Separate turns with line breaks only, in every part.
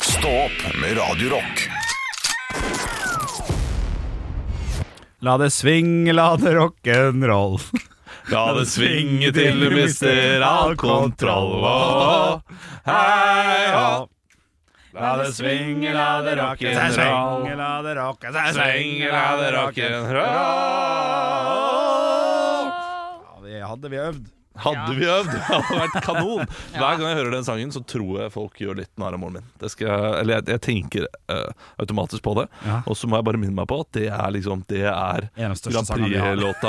Stå opp med Radio Rock.
La det sving, la det rock'n'roll.
La det svinge til du mister all kontroll. Åh, hei, hå. La det svinge, la det rock'n'roll.
Sving, la det rock,
Svinge, la det rock'n'roll.
Ja, vi hadde vi øvd.
Hadde vi øvd, det hadde vært kanon. Hver gang jeg hører den sangen, så tror jeg folk gjør litt narr av moren min. Det skal, jeg- eller jeg, jeg tenker eh, automatisk på det.
Ja.
Og så må jeg bare minne meg på at det er liksom Det er
En av de største
Grand
sangene vi har.
Prix-låta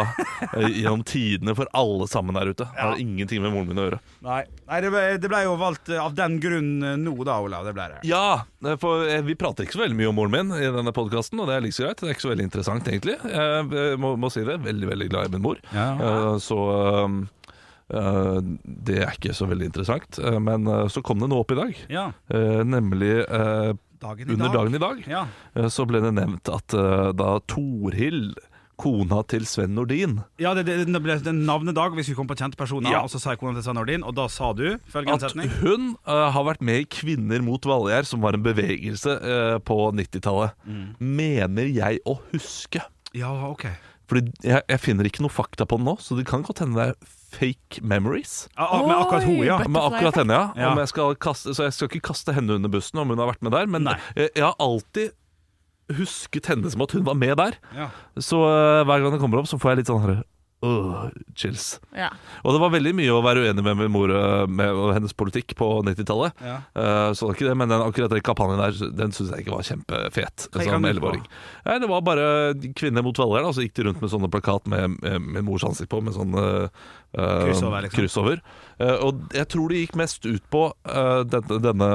eh, gjennom tidene for alle sammen der ute. Det
Ja.
har ingenting med moren min å gjøre.
Nei, Nei det, ble, det ble jo valgt eh, av den grunn eh, nå da, Olav. Det ble det.
Ja, for eh, vi prater ikke så veldig mye om moren min i denne podkasten, og det er like så greit. Det er ikke så veldig interessant, egentlig. Jeg eh, må, må si det. Veldig, veldig glad i min mor.
Ja.
Eh, Så um, eh, det er ikke så veldig interessant. Eh, Men eh, så kom det noe opp i dag.
Ja,
Eh, Nemlig eh,
dagen i
under
dag.
dagen i dag
Ja.
eh, så ble det nevnt at eh, da Torhild, kona til Sven Nordin
ja, det, det, det ble en navnedag hvis vi kom på kjente personer,
Ja.
og så sa jeg kona til Svein Ordin, og da sa du følgende
At
setning.
hun eh, har vært med i Kvinner mot Valgjær, som var en bevegelse eh, på 90-tallet.
Mm.
Mener jeg å huske.
Ja, ok.
Fordi jeg, jeg finner ikke noe fakta på den nå, så det kan godt hende det er fake memories.
Ja, ah, men akkurat hun, ja.
Oi,
Men akkurat henne, ja.
Ja.
Om Jeg skal kaste, så jeg skal ikke kaste henne under bussen om hun har vært med der, men
Nei.
jeg, jeg har alltid husket henne som at hun var med der.
ja.
Så øh, hver gang det kommer opp, så får jeg litt sånn her, øh, chills.
Ja.
Og det var veldig mye å være uenig med min mor øh, med, og hennes politikk på 90-tallet.
Ja.
Eh, så det er ikke det, men den, akkurat den kampanjen der Den syns jeg ikke var kjempefet.
gikk den
Som
ut på?
11-åring. Nei, det var bare kvinner mot velgerne, og så gikk de rundt med sånne plakat med, med, med mors ansikt på, med sånn eh, eh,
Kryss over, liksom.
kryss over. Eh, og jeg tror det gikk mest ut på eh, denne, denne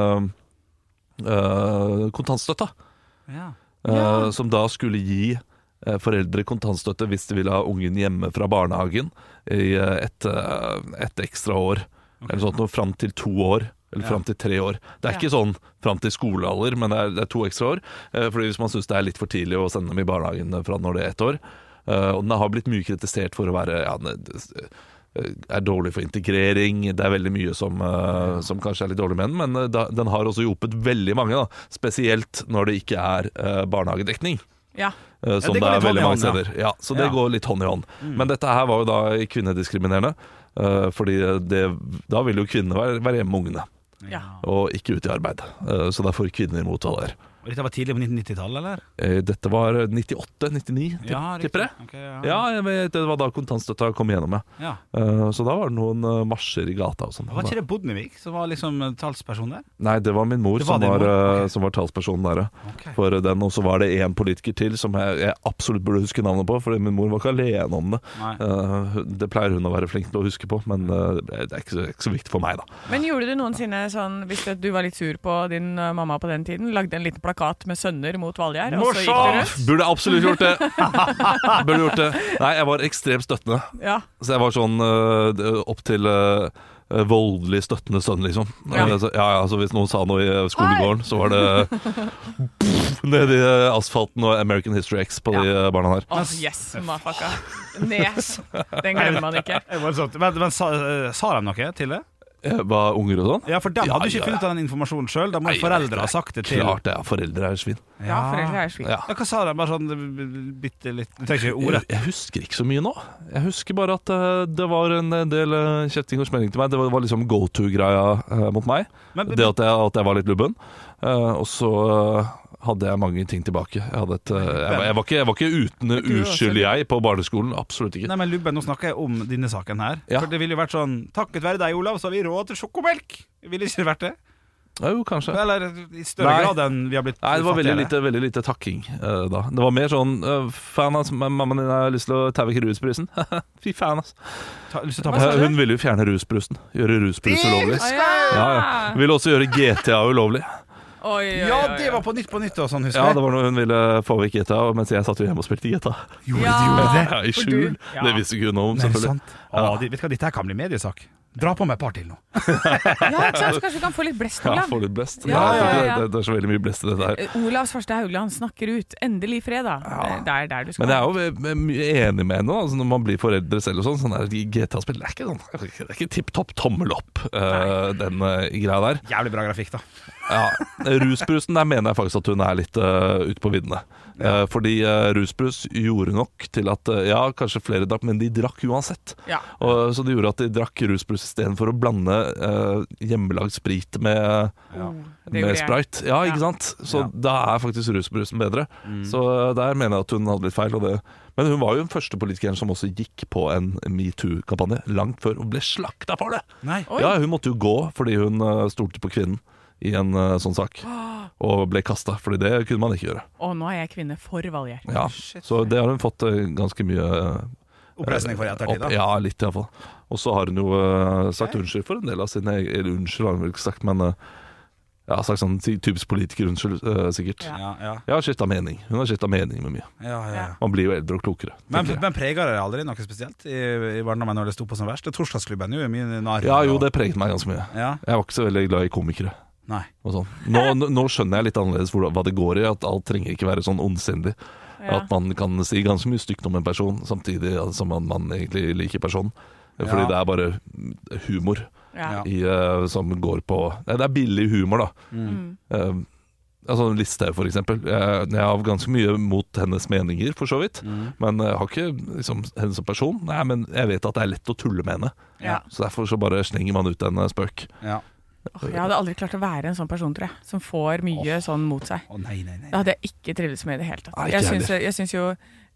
eh, kontantstøtta.
ja.
eh,
Ja.
Som da skulle gi eh, foreldre kontantstøtte hvis de ville ha ungen hjemme fra barnehagen i eh, et, eh, et ekstra år. Eller sånt noe fram til to år. Eller
Ja.
fram til tre år. Det er ikke sånn fram til skolealder, men det er, det er to ekstra år. Eh, Fordi Hvis man syns det er litt for tidlig å sende dem i barnehagen fra når det er ett år eh, Og den har blitt mye kritisert for å være ja, den er- er dårlig for integrering. Det er veldig mye som, eh, som kanskje er litt dårlig med den, men eh, da, den har også hjulpet veldig mange. Da. Spesielt når det ikke er eh, barnehagedekning.
ja.
Eh, Som
det
det,
går litt
er veldig mange
hånd i hånd,
steder. Ja, så det
Ja. Mm.
går litt hånd i hånd. Men dette her var jo da kvinnediskriminerende. eh, Fordi det, da vil jo kvinnene være, være hjemme med ungene,
ja.
og ikke ute i arbeid. Eh, Så derfor kvinner mot hva det er.
Og dette var tidlig på 1990-tallet, eller?
Eh, Dette var 98-99,
riktig.
tipper jeg.
Ok, ja.
Ja, jeg vet, det var da kontantstøtta kom igjennom, ja.
ja.
Eh, Så da var det noen eh, marsjer i gata og sånn.
Var ikke det Bodnevik som var liksom talsperson der?
Nei, det var min mor,
Det var din
som, var,
mor,
eh,
ok.
som var talspersonen der. ja.
Ok.
For den, Og så var det én politiker til som jeg, jeg absolutt burde huske navnet på, for min mor var ikke alene om det.
Nei.
Eh, det pleier hun å være flink til å huske på, men eh, det er ikke så, ikke så viktig for meg, da.
Men gjorde du noensinne sånn, hvis det- du var litt sur på din eh, mamma på den tiden, lagde en liten plakat med sønner mot Valgjær, og så gikk du rundt?
Burde jeg absolutt gjort det! Burde gjort det. Nei, jeg var ekstremt støttende.
Ja.
Så jeg var sånn eh, opp til eh, voldelig støttende sønn, liksom.
Ja.
Eh, så, ja, ja, så hvis noen sa noe i eh, skolegården, så var det pff, nedi eh, asfalten og American History X på de eh, barna der.
Åh, yes, mafaka. Nes. Den glemmer man ikke.
Det var sånn- Men, men sa, eh, sa de noe til det?
Jeg var unger og sånn.
Ja, for de
Ja,
hadde ikke
ja,
funnet av den informasjonen sjøl. Da må
Nei,
jo foreldre
det er
ha sagt det til.
Klart det, ja. Foreldre er svin.
Ja, foreldre er slik.
Ja.
Ja, hva sa de? Bare sånn eh, bitte litt Du trenger ikke
Jeg,
ordet.
jeg husker ikke så mye nå. Jeg husker bare at eh, det var en del eh, kjetting og smelling til meg. Det var, var liksom go to-greia eh, mot meg.
Men,
Det at jeg, at jeg var litt lubben. Eh, og så eh, hadde jeg mange ting tilbake. Jeg, hadde et, eh, jeg, var- jeg, var, ikke, jeg var ikke uten
du også
uskyld,
litt-
jeg, på barneskolen. Absolutt ikke.
Nei, men Lubben, nå snakker jeg om denne saken her.
Ja.
For det ville jo vært sånn Takket være deg, Olav, så har vi råd til sjokomelk! Ville ikke det vært det?
Ja, jo, kanskje.
Eller i større
Nei.
grad enn vi har blitt
Nei, det var veldig
fattigere.
lite, veldig lite takking eh, da. Det var mer sånn eh, Fan, ass, ma- mammaen din har lyst til å taue ikke rusbrusen. Fy faen, ass.
Ta, lyst til å ta
Hva sa
Eh,
du?
Hun ville jo fjerne rusbrusen. Gjøre rusbrus ulovlig.
Å,
Ja, ja. Ville også gjøre GTA ulovlig.
Oi, oi, oi,
Ja,
oi.
det var på Nytt på Nytt og sånn, husker
Ja,
jeg.
det var noe hun ville få vekk GTA, mens jeg satt jo hjemme og spilte GTA.
Gjorde
Ja.
du det?
Ja, I
for
skjul.
du- ja.
Det visste ikke hun om,
Nei,
selvfølgelig.
sant? Å, de, vet du hva, dette her kan bli mediesak.
Dra på med et par til nå.
Ja, ikke sant? Så kanskje vi kan få litt blest,
Ja,
Olav.
får litt blest.
Ja,
Jeg tror
ja,
ikke
ja.
Det, det, det er så veldig mye blest i dette her.
Eh, Olav Svarstad Haugland snakker ut. Endelig fredag. Eh, Det er der du skal.
Men jeg er jo ve- mye enig med henne da. altså, når man blir foreldre selv. og sånn, sånn der, GTA-spill det er ikke, sånn, det er ikke tipp topp tommel opp, eh, den eh, greia der.
Jævlig bra grafikk, da.
Ja, Rusbrusen, der mener jeg faktisk at hun er litt uh, ute på viddene. Eh, fordi eh, rusbrus gjorde nok til at eh, Ja, kanskje flere drakk, men de drakk uansett.
Ja.
Og, eh, så det gjorde at de drakk rusbrus istedenfor å blande eh, hjemmelagd sprit med,
Oh, det gjorde
med
jeg.
sprite. Ja,
Ja. Mm.
ikke sant? Så
Ja.
da er faktisk rusbrusen bedre. Så eh, der mener jeg at hun hadde litt feil. Og det. Men hun var jo den første politikeren som også gikk på en metoo-kampanje langt før hun ble slakta for det.
Nei.
Oi.
Ja, hun måtte jo gå fordi hun eh, stolte på kvinnen i en eh, sånn sak. Og ble kasta, fordi det kunne man ikke gjøre.
Og nå er jeg kvinne for Valgjerd.
Ja. Så det har hun fått eh, ganske mye
Oppreisning for i ettertid, da.
opp, ja, litt iallfall. Og så har hun jo eh, sagt unnskyld for en del av sine eg- Eller unnskyld har hun vel ikke sagt, men eh, ja, sagt sånn ty- typisk politiker-unnskyld, eh, sikkert.
Ja.
Ja, ja,
Jeg har skifta mening. Hun har skifta mening med mye.
ja, ja, ja.
Man blir jo eldre og klokere.
Men,
tenker jeg.
men preger det aldri noe spesielt i, i barndommen når det sto på som verst? Det er Torsdagsklubben jo er min narr.
ja, jo, det preget meg ganske mye.
Ja,
Jeg var ikke så veldig glad i komikere.
nei.
og sånn. Nå, nå- nå skjønner jeg litt annerledes hvordan, hva det går i, at alt trenger ikke være sånn ondsindig.
Ja.
At man kan si ganske mye stygt om en person, samtidig som man, man egentlig liker personen. Fordi
Ja.
det er bare humor
Ja.
Ja.
i, eh, som går på Nei, Det er billig humor, da.
Mm.
Eh, altså Listhaug, for eksempel. Jeg, jeg har ganske mye mot hennes meninger, for så vidt. Men jeg har ikke liksom, henne som person. Nei, men jeg vet at det er lett å tulle med henne.
Ja.
Så derfor så bare slenger man ut en eh, spøk.
Ja.
Åh, Jeg hadde aldri klart å være en sånn person, tror jeg. Som får mye sånn mot seg.
Å nei, nei, nei.
Det hadde jeg ikke trivdes med i det hele tatt.
Nei, ikke
jeg,
jeg
syns, jeg syns jo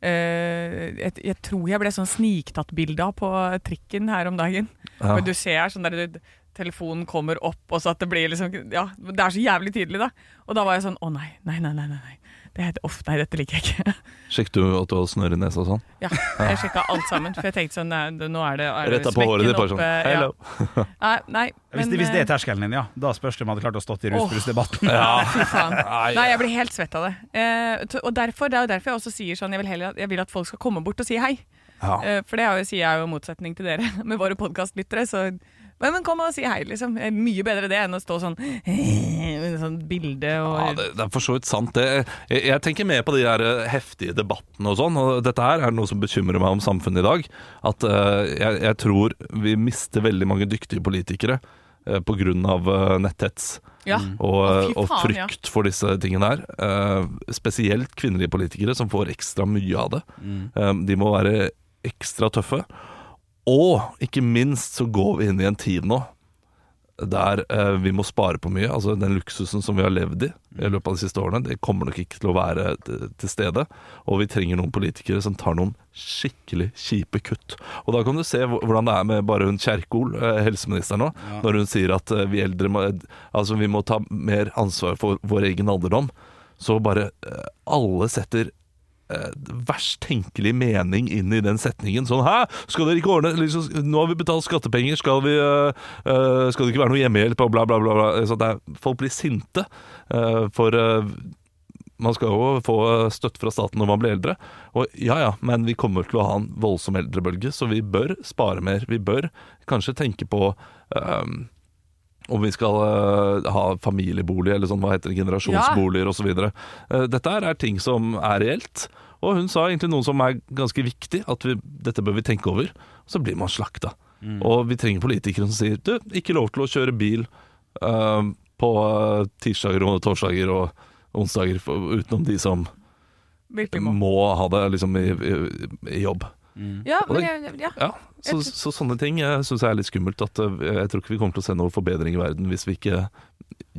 eh, jeg, jeg tror jeg ble sånn sniktatt bilde av på trikken her om dagen.
Ja.
Men du ser sånn der du, telefonen kommer opp, og så at det blir liksom Ja, det er så jævlig tydelig, da. Og da var jeg sånn Å nei, nei, nei, nei. nei, nei. Det er off, nei, dette liker jeg ikke.
Sjekket du at du har snørr i nesa og sånn?
Ja, jeg sjekka alt sammen, for jeg tenkte sånn nei, det- Nå er det, er det
Retta på håret ditt, bare
smekken
sånn.
oppe, ja.
Hello.
Nei, nei,
Hvis, det-
men, eh,
hvis det er terskelen din, ja. Da spørs det om jeg hadde klart å stått i rusbrusdebatten.
Ja, fy faen. Nei, jeg blir helt svett av det. Eh, t- og derfor, Det er jo derfor jeg også sier sånn Jeg vil, heller, at- jeg vil at folk skal komme bort og si hei. Eh, for det er jo, sier jeg jo i motsetning til dere med våre podkastlyttere. Så men, men kom og si hei, liksom. Eh, Mye bedre det enn å stå sånn med sånn bilde
Ja,
og
det, det er for så vidt sant. Det, jeg, jeg tenker mer på de der eh, heftige debattene og sånn. Og dette her er noe som bekymrer meg om samfunnet i dag. At eh, jeg, jeg tror vi mister veldig mange dyktige politikere eh, på grunn av eh, netthets
Ja.
og, eh,
Å, fy
og
faen, ja.
frykt for disse tingene her. Eh, spesielt kvinnelige politikere, som får ekstra mye av det.
Mm,
Eh, de må være ekstra tøffe. Og ikke minst så går vi inn i en tid nå der eh, vi må spare på mye. Altså Den luksusen som vi har levd i i løpet av de siste årene, det kommer nok ikke til å være t- til stede. Og vi trenger noen politikere som tar noen skikkelig kjipe kutt. Og da kan du se hvor- hvordan det er med bare hun Kjerkol, eh, helseministeren nå, når hun sier at eh, vi eldre må, altså, vi må ta mer ansvar for vår egen alderdom. Så bare eh, alle setter eh, verst tenkelig mening inn i den setningen. Sånn 'hæ, skal dere ikke ordne liksom, Nå har vi betalt skattepenger, skal, vi, eh, eh, skal det ikke være noe hjemmehjelp? Og bla, bla, bla. bla. Så det er, folk blir sinte. eh, for eh, man skal jo få støtte fra staten når man blir eldre. Og ja ja, men vi kommer til å ha en voldsom eldrebølge, så vi bør spare mer. Vi bør kanskje tenke på eh, om vi skal eh, ha familiebolig, eller sånn, hva heter det, generasjonsboliger osv. Uh, dette her er ting som er reelt. Og hun sa egentlig noe som er ganske viktig, at vi, dette bør vi tenke over. Og så blir man slakta. Og vi trenger politikere som sier du, ikke lov til å kjøre bil eh, på eh, tirsdager og torsdager og onsdager for, utenom de som
virkelig må.
må ha det liksom i, i, i jobb.
Ja, men, jeg- ja.
Ja, så, så sånne ting syns jeg er litt skummelt. At eh, jeg tror ikke vi kommer til å se noen forbedring i verden hvis vi ikke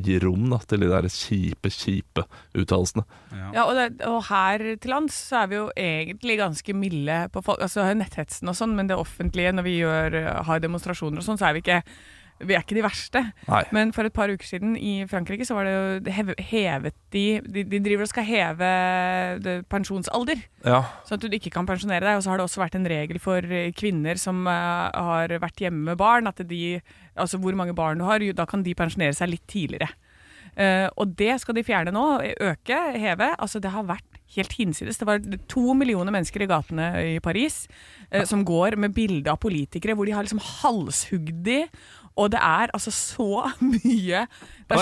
gir rom da, til de der kjipe, kjipe uttalelsene.
Ja, og, det, og her til lands så er vi jo egentlig ganske milde på folk. Altså netthetsen og sånn, men det offentlige når vi gjør, eh, har demonstrasjoner og sånn, så er vi ikke, vi er ikke de verste.
Nei.
Men for et par uker siden i Frankrike så var det jo det heve- hevet de De, de driver og skal heve det, pensjonsalder,
Ja,
sånn at du ikke kan pensjonere deg. Og så har det også vært en regel for eh, kvinner som eh, har vært hjemme med barn, at de Altså hvor mange barn du har, jo, da kan de pensjonere seg litt tidligere. Eh, og det skal de fjerne nå, øke, heve. Altså det har vært helt hinsides. Det var to millioner mennesker i gatene i Paris eh, som går med bilde av politikere hvor de har liksom halshugd de. Og det er altså så mye Det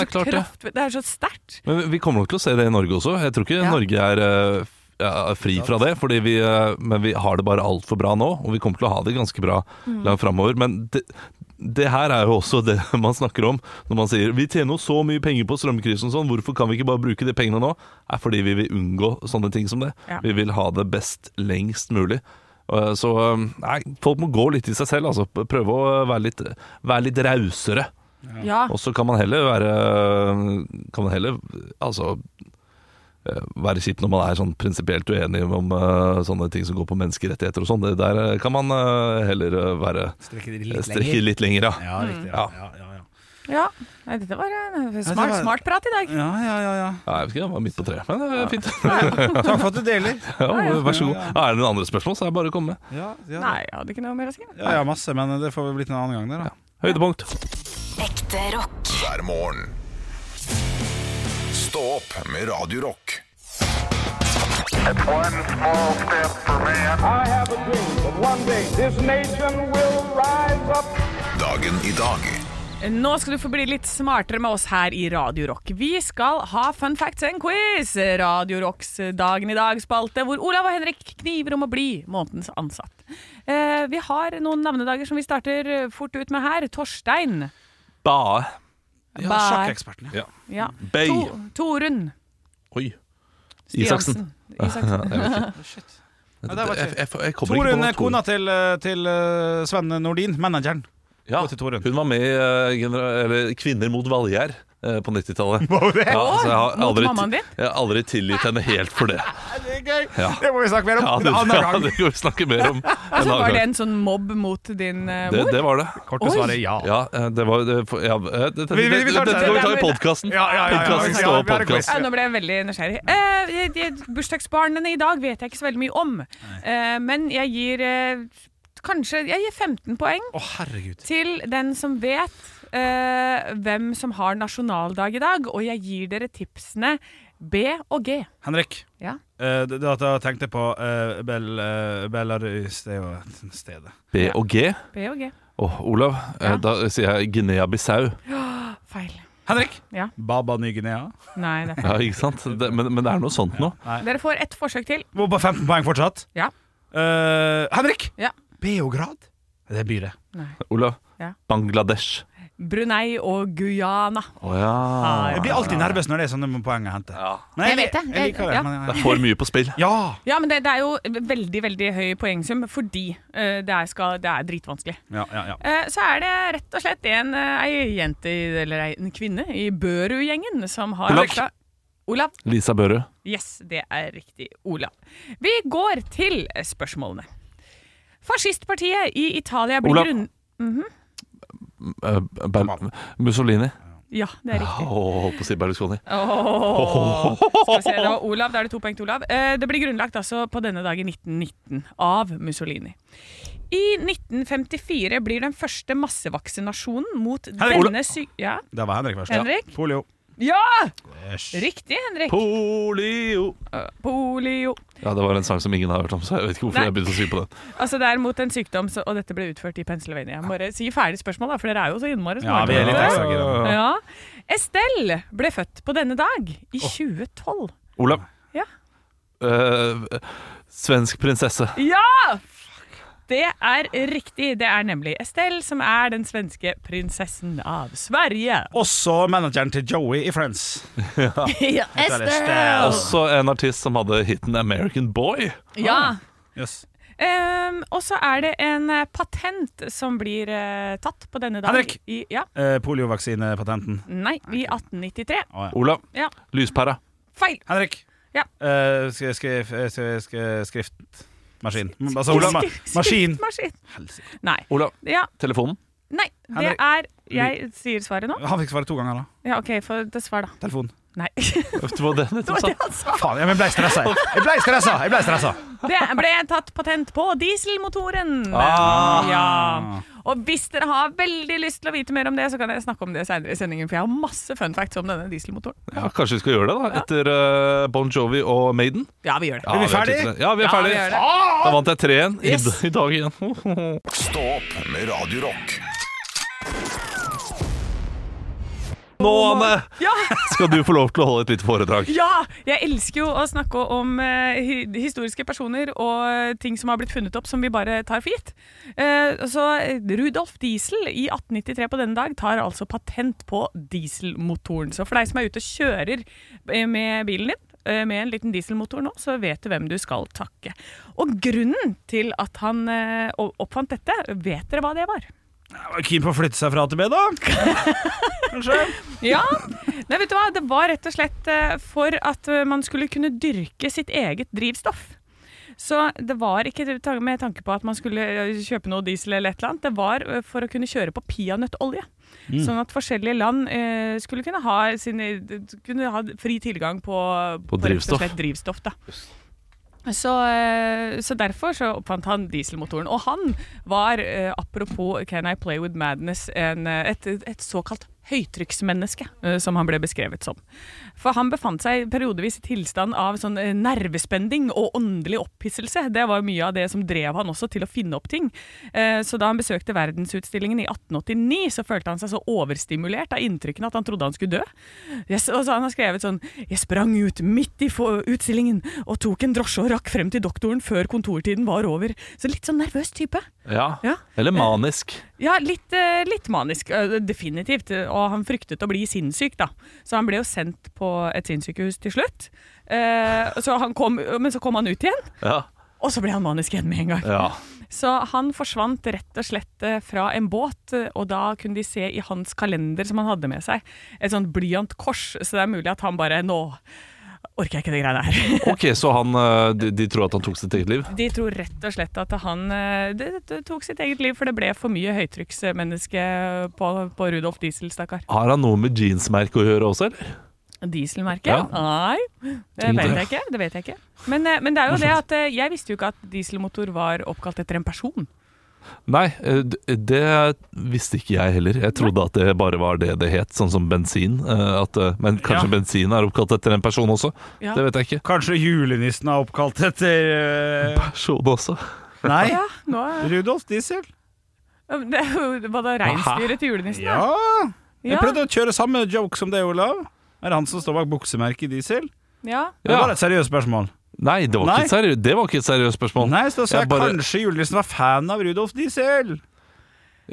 Ja, det er
er så,
klart det.
kraft, det er så sterkt.
Men vi- vi kommer nok til å se det i Norge også. Jeg tror ikke
Ja.
Norge er eh, f- ja, fri fra det, fordi vi, eh, men vi har det bare altfor bra nå, og vi kommer til å ha det ganske bra
Mm.
langt framover. Men det, det her er jo også det man snakker om når man sier vi tjener jo så mye penger på strømkrisen og sånn, hvorfor kan vi ikke bare bruke de pengene nå? er fordi vi vil unngå sånne ting som det.
Ja.
Vi vil ha det best lengst mulig. Eh, Så eh, nei, folk må gå litt i seg selv, altså. Prøve å være litt, være litt rausere.
Ja.
Og så kan man heller være Kan man heller altså eh, være kjip når man er sånn prinsipielt uenig om eh, sånne ting som går på menneskerettigheter og sånn. Det Der eh, kan man eh, heller eh, være
Strekke det
eh,
litt
Strekke
lenger.
litt lenger, ja.
Ja, riktig. Ja, ja, ja. ja.
ja. Nei, dette var en smart,
var-
smart prat i dag.
Ja, ja, ja, ja.
Nei, jeg vet ikke, jeg var midt på treet, men det er fint.
Takk for at du deler.
Ja, vær så god. Er det noen andre spørsmål, så er det bare å komme med.
Ja, ja.
Nei, jeg hadde ikke noe mer å si.
Ja, ja, masse, men det får vi blitt en annen gang. Der, da.
Høydepunkt.
Ekte rock.
hver morgen. Stå opp med Radio Rock.
One small step for man.
I have a dream that one day this nation will rise up.
Dagen i dag
Nå skal du få bli litt smartere med oss her i Radio Rock. Vi skal ha fun facts and quiz. Radio Rocks Dagen i dag-spalte, hvor Olav og Henrik kniver om å bli månedens ansatt. Eh, vi har noen navnedager som vi starter eh, fort ut med her. Torstein.
Bae.
Ja,
Bær.
Sjakkeksperten. ja.
Ja.
Bay.
To, Torunn.
Oi. Isaksen.
Stiansen. Isaksen.
Jeg vet ikke.
Ja, det var
Jeg,
ikke-
jeg, jeg kommer ikke på
Torunn
noe
er kona til, eh, til eh, Sven Nordin, manageren.
Ja,
Gå til Torunn.
hun var med i eh, genera- eller Kvinner mot Valgjær eh, på 90-tallet. Ja, så jeg har
Mot
aldri,
mammaen din?
Jeg har aldri tilgitt henne helt for det.
Det er gøy!
Ja.
Det må vi snakke mer om
Ja,
en
det,
annen
ja,
gang.
det kan vi snakke mer om en
Så
annen
var det
gang.
en sånn mobb mot din eh,
Det,
mor?
det var det.
Korte
Oi.
svaret er ja.
Ja, eh, det var det, for- ja, eh, Dette dette-
Vi- vi- vi tar det.
dette kan vi ta i
Det- det-
podkasten.
Ja, ja, ja, ja.
Podkasten
Ja,
står
vi har en quiz.
podkast.
Ja, nå ble jeg veldig nysgjerrig. Eh, de- de bursdagsbarnene i dag vet jeg ikke så veldig mye om. Eh, men jeg gir eh, kanskje Jeg gir 15 poeng
Å, herregud.
til den som vet eh, hvem som har nasjonaldag i dag. Og jeg gir dere tipsene B og G.
Henrik.
Ja.
eh, det- det at jeg tenkte på eh, Bel, eh, Belarus Det er jo et sted.
B og G.
B og G.
Åh, Olav, eh,
Ja.
da sier jeg Guinea-Bissau.
Feil.
Henrik.
Ja.
Baba Ny-Guinea.
Nei, det er feil.
Ja, ikke sant? Det, men, men det er noe sånt nå.
Dere får ett forsøk til.
Må på 15 poeng fortsatt.
Ja.
Eh, Henrik.
Ja.
Beograd. Det er byret.
Olav.
Ja.
Bangladesh.
Brunei og Guyana.
Å ja.
Ah,
Jeg blir alltid nervøs når det er sånne poeng å hente.
Ja.
Nei,
Jeg vet det.
Jeg liker det.
Ja.
men-
Det er for mye på spill.
Ja!
Ja, men det, det er jo veldig veldig høy poengsum fordi eh, det, er skal, det er dritvanskelig.
Ja, ja, ja.
Eh, Så er det rett og slett en, eh, ei jente, i- eller ei- en kvinne, i Børu-gjengen som har
Olav.
Rekla- Olav.
Lisa Børud.
Yes, det er riktig. Olav. Vi går til spørsmålene. Fascistpartiet i Italia blir
Olav.
grunn...
Eh, Ber- Mussolini.
Ja, det er
Åh,
riktig.
holdt på å si Berlusconi.
Åh. Skal vi se, det var Olav. Da er det to poeng til Olav. Eh, Det blir grunnlagt altså på denne dag i 1919 av Mussolini. I 1954 blir den første massevaksinasjonen mot
Olav.
denne sy... Ja,
Det var Henrik først.
Henrik?
Ja. Polio.
ja!
Yes.
riktig, Henrik.
Polio.
Polio.
Ja, det var en sang som ingen har hørt om, så jeg vet ikke hvorfor
Nei.
jeg begynte å sy på den.
Altså det er mot en sykdom, så, og dette ble utført i Pennsylvania. Jeg må Bare si ferdig spørsmål, da, for dere er jo så innmari
Ja, vi er litt ekstra gira.
Ja. Estelle ble født på denne dag i 2012.
Olav.
Ja.
Eh, svensk prinsesse.
Ja! Det er riktig. Det er nemlig Estelle som er den svenske prinsessen av Sverige.
Også manageren til Joey i Friends.
Ja,
Også en artist som hadde hiten American Boy.
Ja.
Yes.
Ehm, og så er det en eh, patent som blir eh, tatt på denne dag.
Henrik!
I, ja,
Eh, Poliovaksinepatenten.
nei, i 1893.
Å, ja.
Olav.
Ja.
Lyspæra.
Feil.
Henrik.
Ja.
Eh, sk skrif sk sk skriftmaskin. M- Altså,
Skrift-
ma maskin.
skriftmaskin. Nei.
Olav.
Ja,
Telefonen.
Nei, det
Henrik.
er Jeg sier svaret nå.
Han fikk svare to ganger, da.
Ja, OK, få det svar, da.
Telefon.
Nei. Det
Det var det jeg nettopp
var
sa.
det han sa.
Faen, jeg ble stressa. jeg. Jeg ble stressa! Jeg ble stressa.
Det ble tatt patent på dieselmotoren.
Ah.
Ja. Og hvis dere har veldig lyst til å vite mer om det, så kan dere snakke om det senere i sendingen, for jeg har masse fun facts om denne dieselmotoren.
Ja, Kanskje vi skal gjøre det, da? Etter eh, Bon Jovi og Maiden.
Ja, vi gjør det.
Ja,
vi
har
ferdig?
tid til det. Ja, vi er
Ja, vi
ferdig.
gjør det. Ah!
da vant jeg 3-1 i,
Yes.
d- i dag igjen.
Stå opp med Radio Rock.
Nå, Anne,
Ja!
skal du få lov til å holde et lite foredrag.
Ja! Jeg elsker jo å snakke om eh, hi- historiske personer og eh, ting som har blitt funnet opp som vi bare tar for gitt. Eh, så Rudolf Diesel i 1893 på denne dag tar altså patent på dieselmotoren. Så for deg som er ute og kjører eh, med bilen din, eh, med en liten dieselmotor nå, så vet du hvem du skal takke. Og grunnen til at han eh, o- oppfant dette, vet dere hva det var?
Jeg var Keen på å flytte seg fra AtB, da? Kanskje?
Ja, Nei, vet du hva? Det var rett og slett eh, for at eh, man skulle kunne dyrke sitt eget drivstoff. Så det var ikke ta- med tanke på at man skulle eh, kjøpe noe diesel eller et eller annet, det var eh, for å kunne kjøre på peanøttolje.
Mm.
Sånn at forskjellige land eh, skulle kunne ha, sine, kunne ha fri tilgang på,
På
rett
drivstoff.
og slett drivstoff. Da. Så, eh, så derfor så oppfant han dieselmotoren. Og han var, eh, apropos Can I Play With Madness, en, eh, et, et såkalt høytrykksmenneske, eh, som han ble beskrevet som. For han befant seg periodevis i tilstand av sånn eh, nervespending og åndelig opphisselse. Det var mye av det som drev han også til å finne opp ting. Eh, Så da han besøkte verdensutstillingen i 1889, så følte han seg så overstimulert av inntrykkene at han trodde han skulle dø. Jeg, s- og så han har skrevet sånn Jeg sprang ut midt i få- utstillingen og tok en drosje og rakk frem til doktoren før kontortiden var over. Så litt sånn nervøs type.
Ja.
Ja.
Eller manisk.
Ja, litt, eh, litt manisk, eh, definitivt. Og han fryktet å bli sinnssyk, da. Så han ble jo sendt på et sinnssykehus til slutt. Eh, så han kom, men så kom han ut igjen,
Ja.
og så ble han manisk igjen med en gang.
ja.
Så han forsvant rett og slett eh, fra en båt, eh, og da kunne de se i hans kalender som han hadde med seg, et sånt blyantkors, så det er mulig at han bare Nå orker jeg ikke de greiene her.
Ok, så han, eh, de, de tror at han tok sitt eget liv?
De tror rett og slett at han eh, det, det tok sitt eget liv, for det ble for mye høytrykksmenneske på, på Rudolf Diesel, stakkar.
Har han noe med jeansmerket å gjøre også, eller?
Dieselmerket?
Ja.
Nei, det vet jeg ikke. Det vet jeg ikke. Men, eh, men det er jo det at eh, jeg visste jo ikke at dieselmotor var oppkalt etter en person.
Nei, eh, d- det visste ikke jeg heller. Jeg trodde at det bare var det det het, sånn som bensin. eh, At, eh, men kanskje
Ja.
bensin er oppkalt etter en person også?
Ja.
Det vet jeg ikke.
Kanskje julenissen er oppkalt etter eh,
Person også.
Nei,
Ja, nå er-
Rudolf Diesel.
Det er jo- Var det reinsdyret til julenissen? da?
Ja. Jeg
Ja.
prøvde å kjøre samme joke som deg, Olav. Er det han som står bak buksemerket i diesel?
Ja.
Det
Ja.
var et seriøst spørsmål.
Nei, det var,
Nei.
Ikke, et seriøst, det var ikke et seriøst spørsmål.
Nei, så sa
Jeg
jeg
bare-
kanskje julenissen var fan av Rudolf Diesel.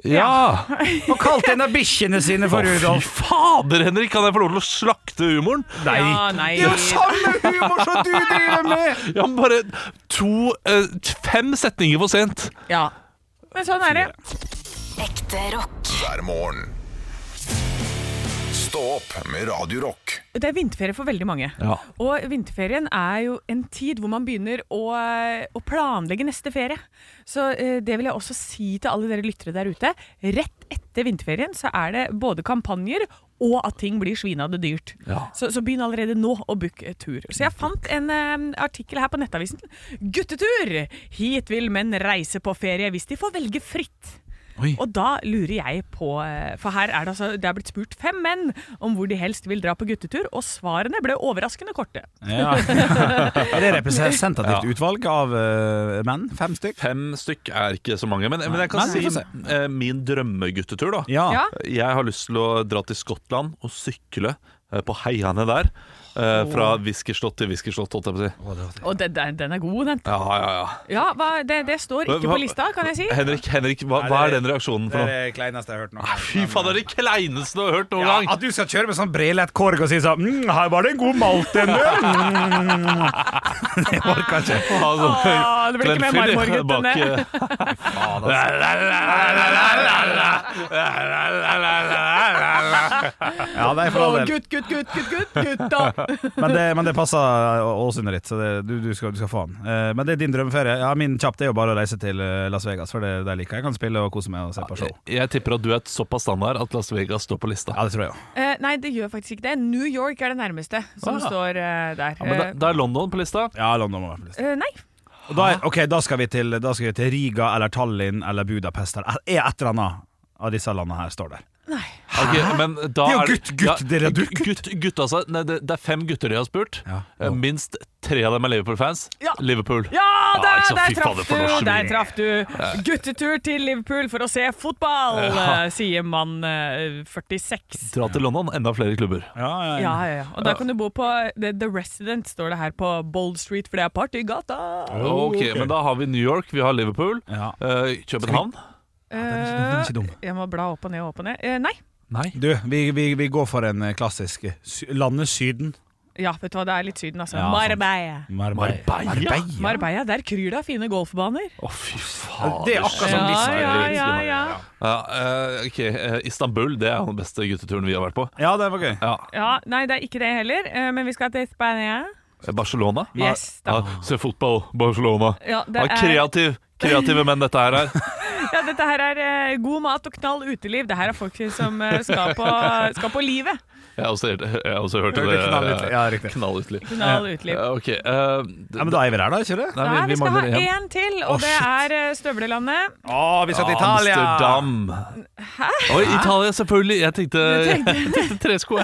Ja!
Og kalte en av bikkjene sine for
Å, fy
Rudolf.
fader, Henrik! Kan jeg få lov til å slakte humoren?
Ja, nei.
Det er jo samme humor som du driver med!
Ja, men bare to eh, Fem setninger for sent!
Ja. Men sånn er det.
Ekte rock.
hver morgen. Stå opp med Radio Rock.
Det er vinterferie for veldig mange.
Ja.
Og vinterferien er jo en tid hvor man begynner å, eh, å planlegge neste ferie. Så eh, det vil jeg også si til alle dere lyttere der ute. Rett etter vinterferien så er det både kampanjer og at ting blir svinade dyrt.
Ja.
Så, så begynn allerede nå å booke tur. Så jeg fant en eh, artikkel her på Nettavisen. 'Guttetur! Hit vil menn reise på ferie hvis de får velge fritt'.
Oi.
Og da lurer jeg på eh, For her er det altså Det er blitt spurt fem menn om hvor de helst vil dra på guttetur, og svarene ble overraskende korte.
Ja. det er representativt utvalg av eh, menn. Fem stykk.
Fem stykk er ikke så mange, men, men jeg kan
Nei, vi får
si eh, min drømmeguttetur, da.
Ja.
Ja.
Jeg har lyst til å dra til Skottland og sykle eh, på heiene der. eh, Fra Whiskerslott til Whiskerslott, holdt jeg på å si.
Og den, den, den er god, den.
Ja, ja, ja.
Ja, hva, det, det står ikke
Hva-
på lista, kan jeg si.
Henrik, Henrik hva,
Nei,
hva er
det-
den reaksjonen
Det
for
er
noe?
det kleineste jeg har hørt nå.
Fy faen, det er det kleineste du har hørt noen
Ja,
gang!
at du skal kjøre med sånn brelett korg og si sånn mm, 'Her var det en god malt en mm. Det orka ikke.
Altså,
Ah,
Åh, det blir ikke mer
Glenn Philly
marmorgutt enn
bak,
det.
eh,
Faen, altså. Ja, nei, for all
Å,
del.
gutt, gutt, gutt, gutt, gutt, gutta!
Men det, men det passer Ålesund litt, så det, du, du, skal, du skal få den. Eh, Men det er din drømmeferie. Ja, min kjapt er jo bare å reise til eh, Las Vegas, for det, det liker jeg. Jeg kan spille og kose meg og se på show.
eh, Jeg tipper at du er såpass standard at Las Vegas står på lista.
Ja, det tror jeg jo.
Eh, nei, det gjør faktisk ikke det. New York er det nærmeste som
Ah.
står eh, der.
Ja, men da, da er London på lista.
Ja, London må være på listen.
Eh, eh, nei.
Og da, er- ok, da skal, vi til, da skal vi til Riga eller Tallinn eller Budapest. eller- Er et eller annet av disse landene her står der.
Ok, men da
Det er jo
det-
gutt, gutt, dere er gutt.
gutt, gutt, altså. Nei, det, det er fem gutter de har spurt.
Ja.
Eh, Minst tre av dem er Liverpool-fans.
Ja.
Liverpool.
Ja,
Ah,
der,
ikke sant?
der
Fy
traff
fader,
du!
for norsk
Der
sving.
traff du. Guttetur til Liverpool for å se fotball,
Ja.
eh, sier mann eh, 46.
Dra til London, enda flere klubber.
Ja,
Ja, ja, ja. Og da kan du bo på The, the Resident, står det her på Bold Street, for det er partygata.
Ok, Men da har vi New York, vi har Liverpool.
Oh, Ja.
eh, København.
er ikke dum.
Eh, Jeg må bla opp og ned og opp og ned. Eh, nei.
Nei.
Du, vi, vi, vi går for en eh, klassisk eh, sy Landet Syden.
Ja, vet du hva, det er litt Syden, altså.
Ja, sant.
Marbella.
Marbella.
Marbella.
Marbella, der kryr det av fine golfbaner.
Å, fy faen.
Det er akkurat som
Ja,
disse
ja, ja, ja.
eh, ok, eh, Istanbul det er den beste gutteturen vi har vært på.
Ja, det var gøy.
Ja.
ja. Nei, det er ikke det heller, eh, men vi skal til Spania.
Eh, Barcelona.
Yes, da.
Ja, se fotball, Barcelona.
Ja, det
Ja,
er,
kreativ, kreative menn, dette her er.
ja, dette her er eh, god mat og knall uteliv. Det her er folk som eh, skal på, skal på livet.
Jeg har også, jeg har også hørt det.
Hørte knalluteliv. Ja, riktig.
Knalluteliv.
Knall uteliv.
Eh, ok, eh,
Ja, men da er vi der, da, ikke det?
nei,
Nei, vi skal ha
mangler en.
én til, og
Å,
det
shit.
er eh, støvlelandet.
Å, vi skal til Italia!
Amsterdam. Oi, Italia, selvfølgelig. Jeg tenkte, jeg tenkte tresko.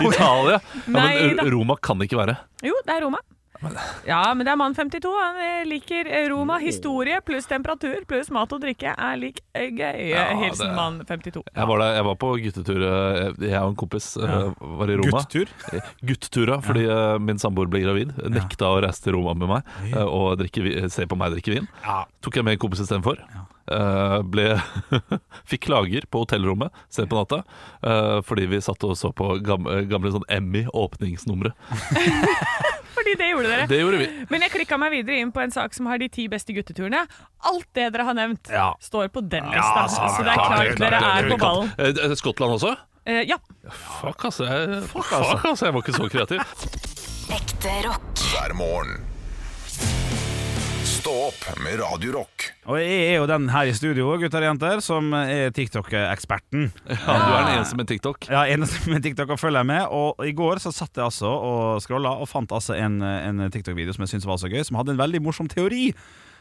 Italia. Ja,
Nei
men eh,
da.
Roma kan det ikke være.
Jo, det er Roma. Ja, men det er mann 52. Han eh, liker eh, Roma. Historie pluss temperatur pluss mat og drikke er lik eh, gøy.
Ja,
Hilsen
det-
mann 52.
Jeg var, der, jeg var på guttetur, eh, jeg og en kompis eh, var i Roma.
Guttetur.
Guttetura, fordi eh, min samboer ble gravid. Nekta å reise til Roma med meg eh, og drikke, vi- se på meg drikke vin.
Ja.
Tok jeg med en kompis istedenfor. Eh, ble Fikk klager på hotellrommet sent på natta eh, fordi vi satt og så på gamle, gamle sånn Emmy-åpningsnumre.
Fordi det gjorde dere.
Det gjorde vi.
Men jeg klikka meg videre inn på en sak som har de ti beste gutteturene. Alt det dere har nevnt,
Ja.
står på den
Ja,
lista.
sant,
så det er
klart,
klart dere er på ballen.
Eh, Skottland også?
Eh, ja.
Fuck, altså. Jeg, fuck, altså. Jeg var ikke så kreativ.
Ekte rock.
hver morgen. Stå opp med Radio Rock.
Og jeg er jo den her i studio, gutter og jenter, som eh, er TikTok-eksperten.
Ja, du er den eneste med TikTok.
Ja, eneste med TikTok å følge med. Og i går så satt jeg altså og scrolla og fant altså en, en TikTok-video som jeg syntes var så gøy, som hadde en veldig morsom teori.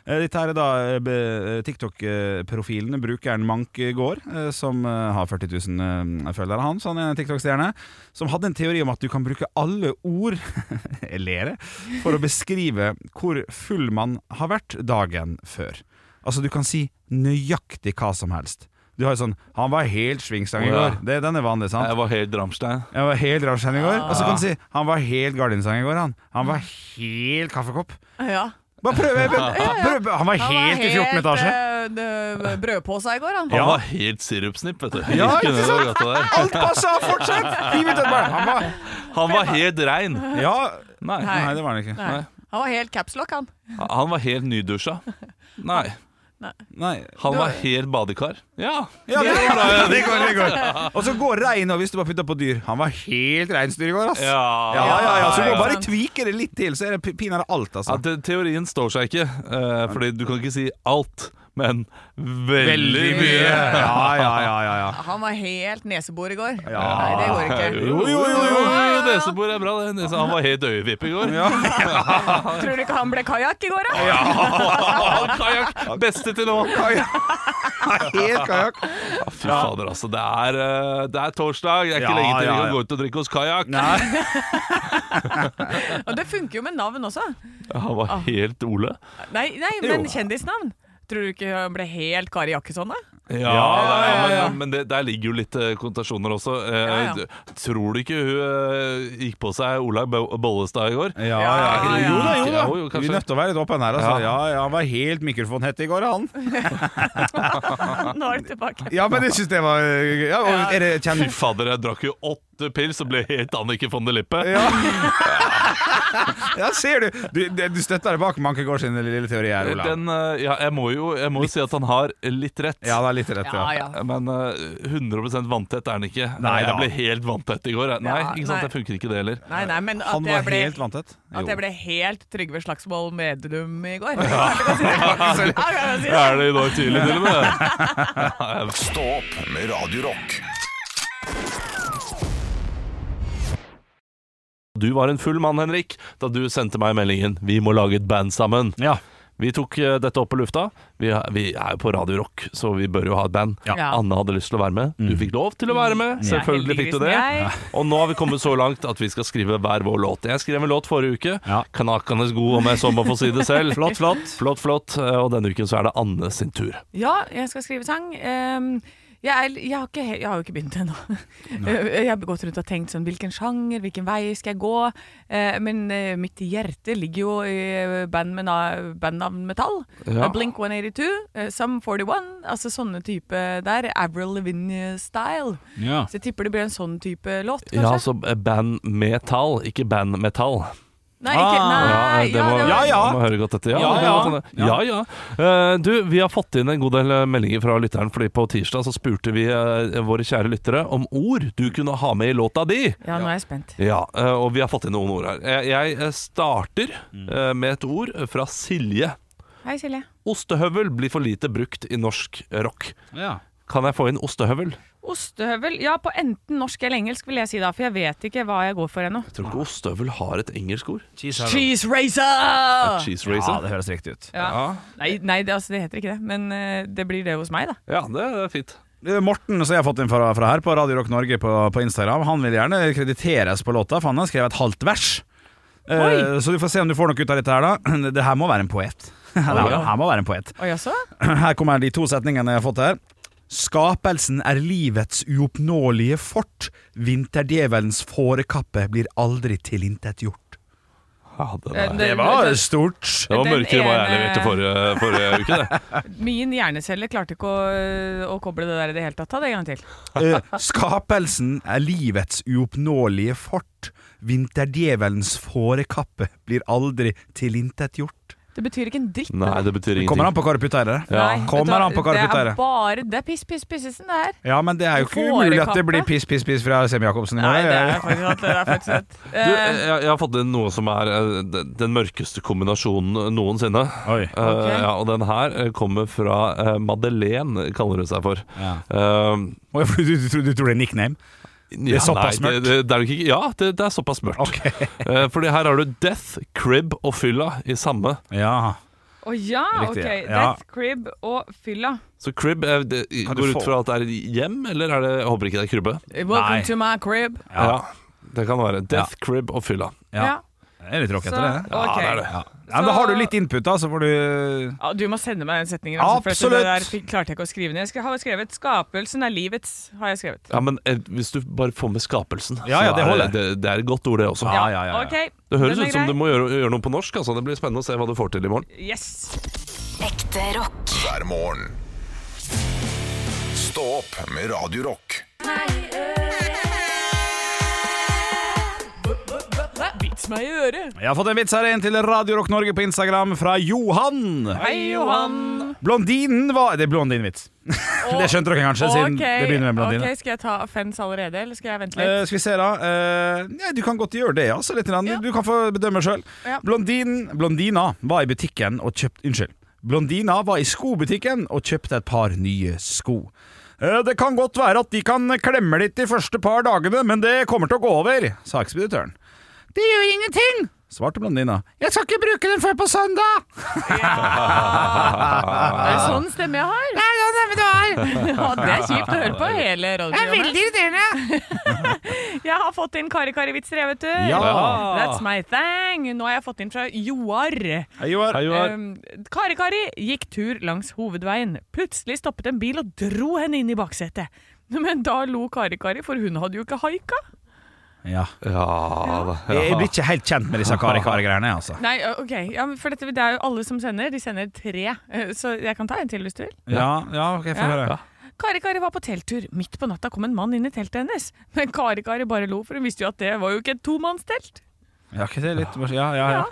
Eh, Dette her er da eh, be- TikTok-profilen, brukeren Mankgård, eh, som eh, har 40 000 eh, følgere, han, så han er en TikTok-stjerne, som hadde en teori om at du kan bruke alle ord jeg ler, jeg, for å beskrive hvor full man har vært dagen før. Altså, du kan si nøyaktig hva som helst. Du har jo sånn 'Han var helt svingstang i
Ja.
går'. Det, den er vanlig, sant?
Jeg var helt Ramstein.
Jeg var helt Rammstein i går. Og så kan du si han var helt Gardinsang i går. Han Han var helt kaffekopp.
Ja.
Bare prøv, prøv, prøv, prøv. Han var
Han var
helt i 14. etasje.
eh, brødpåse i går, han.
Han var helt sirupsnipp, vet du.
Ja,
Helt
ikke
under
sant?
gata der.
Alt passa! Fortsett! Hiv ut et barn. Han var
Han var helt rein.
Ja
Nei.
Nei, det var han ikke.
Nei. Han var helt capslock, han.
Han var helt nydusja. Nei.
Nei.
Han var helt badekar. Ja.
Ja, det går, det går, det går. Og så går rein over hvis du bare putter på dyr. Han var helt reinsdyr i går, ass. Ja, ja, ja. Så du må bare tvike det litt til, så er det pinadø alt,
Ja,
altså.
te- teorien står seg ikke, eh, fordi du kan ikke si alt, men veldig,
Veldig mye.
mye.
Ja, ja, ja, ja. ja.
Han var helt nesebor i går.
Ja.
Nei, det går ikke.
Jo, jo, jo, jo, jo. Nesebor er bra, det. Nese- Han var helt øyevipp i går. Ja.
Tror du ikke han ble kajakk i går, da?
Kajakk! Beste til nå.
Helt kajakk.
Fy fader, altså. Det er, eh, det er torsdag. Det er ikke
Ja, ja,
lenge til vi
ja.
kan gå ut og drikke oss kajakk.
Nei.
Og det funker jo med navn også.
Han var
Ah.
helt Ole.
Nei, nei men
Jo.
kjendisnavn. Tror du ikke han ble helt Kari Jakkesson, da?
Ja,
ja,
nei,
ja,
men-
ja.
men det, der ligger jo litt eh, konnotasjoner også. Eh,
Ja, ja.
d- Tror du ikke hun eh, gikk på seg Olaug Bo- Bollestad i går?
Ja, ja,
ja.
Jo da, jo da.
Jo, jo, kanskje.
Vi er nødt til å være litt åpne her. Altså. Ja.
Ja.
ja, han var helt mikrofonhett i går, han.
Nå er det tilbake.
Ja, men jeg syns det var ja, og Er det
Fy
kjent?
fader, jeg drakk jo åtte pils og ble helt Annike von der Lippe.
Ja. ja, ser du. Du, det- du støtter deg bak Mankegård sin lille teori her, Olav.
Den, eh, ja, jeg må jo, jeg må jo si at han har litt rett.
Ja, det er litt rett.
Ja,
Ja.
ja.
Men eh, 100 vanntett er han ikke.
Nei
jeg
da.
ble helt vanntett i går. jeg. Nei,
Ja,
ikke sant,
nei.
det funker ikke det heller.
Nei, nei, men at
Han var
jeg ble
helt vanntett.
at jeg
Jo.
ble helt Trygve Slagsvold Medlum i går. Ja. det kan jeg si.
Er det i dag tidlig, til og med?
Stå opp med Radio Rock.
Du var en full mann, Henrik, da du sendte meg meldingen 'Vi må lage et band sammen'.
Ja.
Vi tok eh, dette opp på lufta. Vi, har- vi er jo på Radio Rock, så vi bør jo ha et band.
Ja.
Anne hadde lyst til å være med. Du fikk lov til å være
Mm.
med. Selvfølgelig fikk du det.
Jeg-
Og nå har vi kommet så langt at vi skal skrive hver vår låt. Jeg skrev en låt forrige uke.
Ja.
Kanakenes god, om jeg så må få si det selv.
Flott, flott.
Flott, flott. Eh, Og denne uken så er det Anne sin tur.
Ja, jeg skal skrive sang. Ehm, jeg, er, jeg, har ikke, he- jeg har jo ikke begynt ennå. Jeg har gått rundt og tenkt sånn hvilken sjanger, hvilken vei skal jeg gå? Eh, men eh, mitt hjerte ligger jo i eh, band med na- bandnavn metall.
Ja.
Eh, Blink 182, eh, Sum 41, altså sånne type der. Avril Lavigne-style.
Ja.
Så jeg tipper det blir en sånn type låt, kanskje?
Ja, altså eh, band med tall, ikke band med tall.
Nei, ikke, nei,
det må,
Ah, det var-
Ja, ja.
må høre godt etter. Ja,
Ja,
det
ja.
kan godt hende. ja. ja. Eh, du, vi har fått inn en god del eh, meldinger fra lytteren, fordi på tirsdag så spurte vi eh, våre kjære lyttere om ord du kunne ha med i låta di.
ja, nå er jeg spent.
Ja, eh, og vi har fått inn noen ord her. Jeg, jeg eh, starter eh, med et ord fra Silje.
Hei, Silje.
Ostehøvel blir for lite brukt i norsk rock. Kan jeg få inn ostehøvel?
Ostehøvel. Ja, på enten norsk eller engelsk, vil jeg si da, for jeg vet ikke hva jeg går for ennå.
Jeg tror ikke ostehøvel har et engelsk ord.
Cheese racer!
Cheese
Ja,
racer.
det høres riktig ut.
Ja. Nei, nei det, altså, det heter ikke det, men eh, det blir det hos meg, da.
Ja, det er fint.
Det er Eh, Morten, som jeg har fått inn fra, fra her på Radio Rock Norge på, på Instagram, han vil gjerne krediteres på låta, for han har skrevet et halvt vers. Eh,
Oi.
så du får se om du får noe ut av dette her, da. Det her må være en poet. Det her, det her må være en poet.
Oi, også?
Her kommer de to setningene jeg har fått her. Skapelsen er livets uoppnåelige fort. Vinterdjevelens fårekappe blir aldri tilintetgjort.
Ja, den
Eh,
er.
det-
Det var stort.
Det var
Den
mørkere enn hva jeg
ene-
leverte forrige, forrige uke, det.
Min hjernecelle klarte ikke å, eh, å koble det der i det hele tatt. Ta det en gang til.
Eh, Skapelsen er livets uoppnåelige fort. Vinterdjevelens fårekappe blir aldri tilintetgjort.
Det betyr ikke en dritt.
Nei, det betyr
Kommer
ingenting.
an på hva du putter i det.
Nei, vet du
Kommer
hva,
an på hva du putter
Det
i
er
det.
bare det er piss, piss, pissesen det her.
Ja, men det er jo ikke umulig at det blir piss, piss, piss fra Eh, Sem-Jacobsen i
Nei, det er
morgen.
faktisk sant. Det er faktisk sant.
Du, jeg,
Eh,
jeg har fått inn noe som er eh, den den mørkeste kombinasjonen noensinne.
Oi.
Eh, ja, og den her eh, kommer fra eh, Madeleine, kaller hun seg for.
Ja.
Eh,
Å, ja, for Du, du, tror- du tror det er nickname?
ja,
såpass
nei,
mørkt.
Det, det, det er jo ikke, ja, det, det er såpass mørkt.
Ok.
Eh, fordi her har du Death, Crib og Fylla i samme.
Ja.
Å ja,
Riktig,
ok.
ja.
Death Crib og Fylla.
Så Crib eh, det,
Kan du
går
få-
ut fra at det er hjem, eller er det Jeg håper ikke det er krybbe.
Welcome to my crib.
Ja.
Det kan være Death, Crib og Fylla.
ja. Det er litt rockete,
Så,
det.
ok.
Ja, det er det.
Ja. Ja, men da har du litt input, da, så får du
Ja, du må sende meg den setningen. Altså, for at
Absolutt.
Det der fikk- klarte jeg ikke å skrive ned. Jeg skal- har skrevet 'Skapelsen er livets'. har jeg skrevet.
Ja, men eh, hvis du bare får med skapelsen,
Ja, ja,
så
det
er
holder.
det, det er et godt ord, det også.
Ja, ja, ja, ja.
Ok,
Det høres
den er
ut som
grei.
du må gjøre, gjøre noe på norsk. Altså. Det blir spennende å se hva du får til i morgen.
Yes.
Ekte rock.
hver morgen. Stå opp med Radio Rock.
Vits meg i øret.
Jeg har fått en vits her inn til Radio Rock Norge på Instagram fra Johan.
Hei, Johan.
Blondinen var Det er blondinevits. det skjønte dere kanskje, siden
Ok,
det begynner med blondine.
ok, Skal jeg ta offense allerede, eller skal jeg vente litt?
Eh, skal vi se, da. Eh, nei, du kan godt gjøre det, altså. Litt, grann.
Ja.
Du kan få bedømme sjøl.
Ja.
Blondinen Blondina var i butikken og kjøpte Unnskyld. Blondina var i skobutikken og kjøpte et par nye sko. «Eh, Det kan godt være at de kan klemme litt de første par dagene, men det kommer til å gå over, sa ekspeditøren. Det gjør ingenting, svarte blondina. Jeg skal ikke bruke den før på søndag.
Er det sånn stemme jeg har? Nei, sånn stemme du har. ja, det er kjipt å høre på hele radioprogrammet.
irriterende.
Jeg har fått inn kari-kari-vitser, jeg, vet du.
Ja.
That's my thing. Nå har jeg fått inn fra Joar.
Hei, Joar.
Hei, Joar.
Um, Kari Kari gikk tur langs hovedveien. Plutselig stoppet en bil og dro henne inn i baksetet. Men da lo Kari Kari, for hun hadde jo ikke haika.
Ja.
Eh,
Ja, da.
Jeg jeg blir ikke helt kjent med disse kari-kari-greiene, altså.
Nei, ø, ok, ja, men for dette, det er jo alle som sender. De sender tre, ø, så jeg kan ta en til hvis du vil.
Ja, ja ok, få
Ja.
høre.
Kari Kari var på telttur. Midt på natta kom en mann inn i teltet hennes. Men Kari Kari bare lo, for hun visste jo at det var jo ikke et tomannstelt.
Ja, ikke det litt mors- Ja, ja, ja.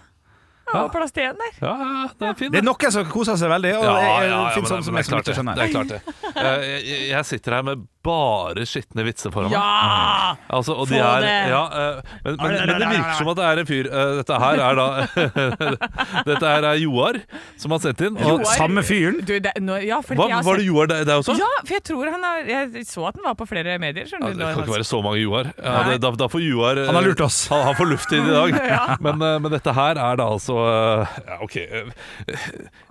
Det var plass til en der.
Ja, ja, det er fint.
Det
det.
er noen som koser seg veldig, og
Ja,
det
ja,
er-
ja,
det
men sånn
finnes
det-
sånne som
men
jeg som ikke
det.
skjønner.
Det er klart det. Eh, Jeg, jeg sitter her med bare skitne vitser foran meg.
Ja!
Altså, og
Få
de er,
det!
Ja, eh, men, men, men det virker som at det er en fyr eh, Dette her er da Dette her er Joar som har sendt inn. Og,
Samme fyren.
Du, det, nå, ja, fordi
hva,
jeg har
var
sett-
det Joar der, der også?
Ja, for jeg tror han er Jeg så at den var på flere medier.
Ja,
skjønner
det
du.
kan
Nå-
ikke være så mange Joar. Ja,
Nei.
det- da, da får Joar
Han har lurt oss.
Han, han får luft i det i dag. men, eh, men dette her er da altså eh, Ja, OK. eh,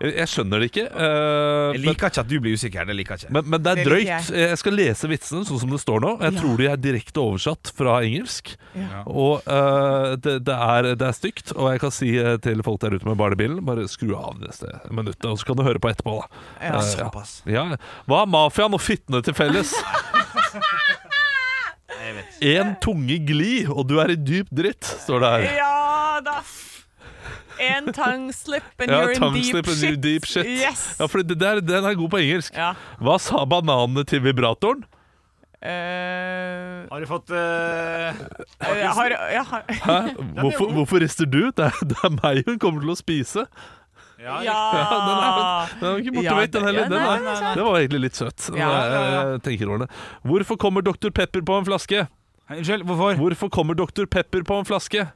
Jeg, jeg skjønner det ikke. eh,
Jeg
men-
liker ikke at du blir usikker. Det liker jeg ikke.
Men, men det er
Det liker
drøyt. Jeg skal lese vitsene sånn som det står nå. Jeg tror de er direkte oversatt fra engelsk.
Ja.
Og eh, det, det, er, det er stygt. Og jeg kan si eh, til folk der ute med barnebilen Bare skru av de neste minuttene, og så kan du høre på etterpå. da
Ja.
Eh, ja. Ja. Hva har mafiaen og fittene til felles? Én tunge gli, og du er i dyp dritt, står det her.
Ja da! En tongue slip and
Ja,
you're in
tongue
deep
slip and
shit.
you're deep shit.
Yes.
Ja, for det der, Den er god på engelsk.
Ja.
Hva sa bananene til vibratoren?
Eh,
Har du fått eh,
jeg har, jeg har,
Hæ? Hvorfor, hvorfor rister du? Det er, det er meg hun kommer til å spise.
ja,
ja.
Den er jo ikke borte
Ja,
vekk, den
det-
heller.
ja,
Den,
nei,
er-
nei, nei.
den var egentlig litt søt.
Ja,
når jeg,
ja,
eh, tenker over det. Hvorfor kommer Dr. Pepper på en flaske?
Unnskyld, hvorfor?
Hvorfor kommer Dr. Pepper på en flaske?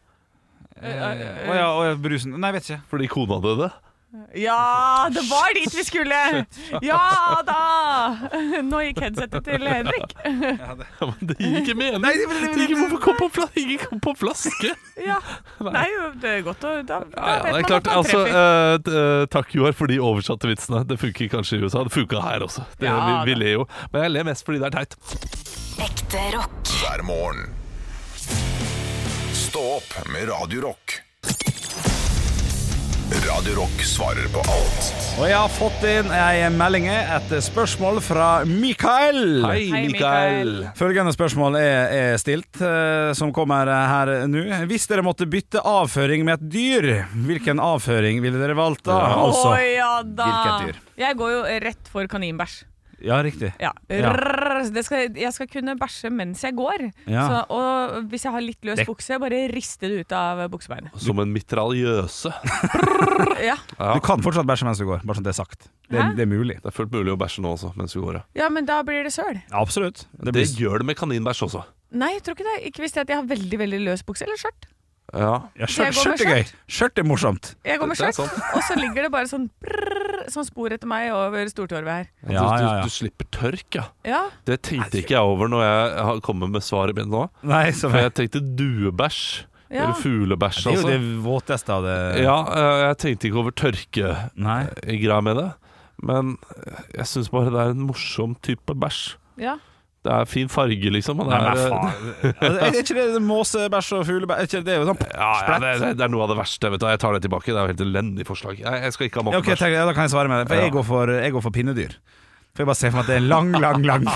Eh,
Eh, Å ja, å ja, brusen. Nei, vet ikke.
Fordi kona døde.
eh, ja, det var dit vi skulle! Ja da! Nå gikk headsetet til Henrik.
Ja, men det gir ikke mening! Tenk, hvorfor kom på en fla- ikke kom på en flaske?
Ja. Nei, jo, det er godt å da, da
Ja, ja, det
vet
er
man
klart.
at man
Altså,
treffer.
eh, eh, takk, Joar, for de oversatte vitsene. Det funker kanskje i USA. Det funka her også. Det,
Ja,
vi, vi ler jo. Men jeg ler mest fordi det er teit.
Ekte rock.
hver morgen. Stå opp med Radio Rock. Radio Rock svarer på alt
Og jeg har fått inn ei melding, et spørsmål fra Mikael.
Hei,
Hei,
Mikael.
Følgende spørsmål er, er stilt, eh, som kommer eh, her nå. Hvis dere måtte bytte avføring med et dyr, hvilken avføring ville dere valgt da?
eh,
Altså
Å, ja da.
hvilket dyr?
Jeg går jo rett for kaninbæsj.
Ja, riktig.
Ja.
Ja.
Rrrr, det skal, jeg skal kunne bæsje mens jeg går.
Ja.
Så, og hvis jeg har litt løs
Det-
bukse, bare riste det ut av buksebeinet.
Som en mitraljøse.
Ja.
Du kan fortsatt bæsje mens du går, bare sånn det er sagt. Det,
Hæ?
det er mulig.
Det er fullt mulig å bæsje nå også, mens vi går. ja.
ja, men da blir det søl.
Absolutt. Det
Det,
blir
gjør det med kaninbæsj også.
Nei, jeg tror ikke det. Ikke hvis det er at jeg har veldig veldig løs bukse eller skjørt.
Ja.
ja,
Jeg
skjørt,
går med
skjørt er gøy. Skjørt er morsomt.
Jeg går med
Det er
skjørt, og så ligger det bare sånn brrrr, sånn spor etter meg over stortorvet her.
Ja,
du,
ja, ja.
Du, du slipper tørk, ja.
Ja.
Det tenkte ikke jeg over når jeg har- kommer med svaret mitt nå.
Nei, som
For
jeg,
jeg tenkte duebæsj.
Ja.
Eller fuglebæsj,
det er jo det
altså.
våteste av det
Ja, eh, jeg tenkte ikke over tørkegreia
Nei.
med det. Men eh, jeg syns bare det er en morsom type bæsj.
ja.
Det er fin farge, liksom. Og det
Nei,
er,
men faen. Er ikke det måsebæsj og fuglebæsj? Er ikke Det det er jo sånn
eh, ja, ja, det, er- det er noe av det verste. Vet du. Jeg tar det tilbake. Det er jo helt elendig forslag. Jeg, jeg skal ikke ha
Ja, ok,
måkebæsj.
tenk, ja, da kan jeg svare med det. For jeg går for, jeg går for pinnedyr. For jeg bare ser for meg at det er lang, lang, lang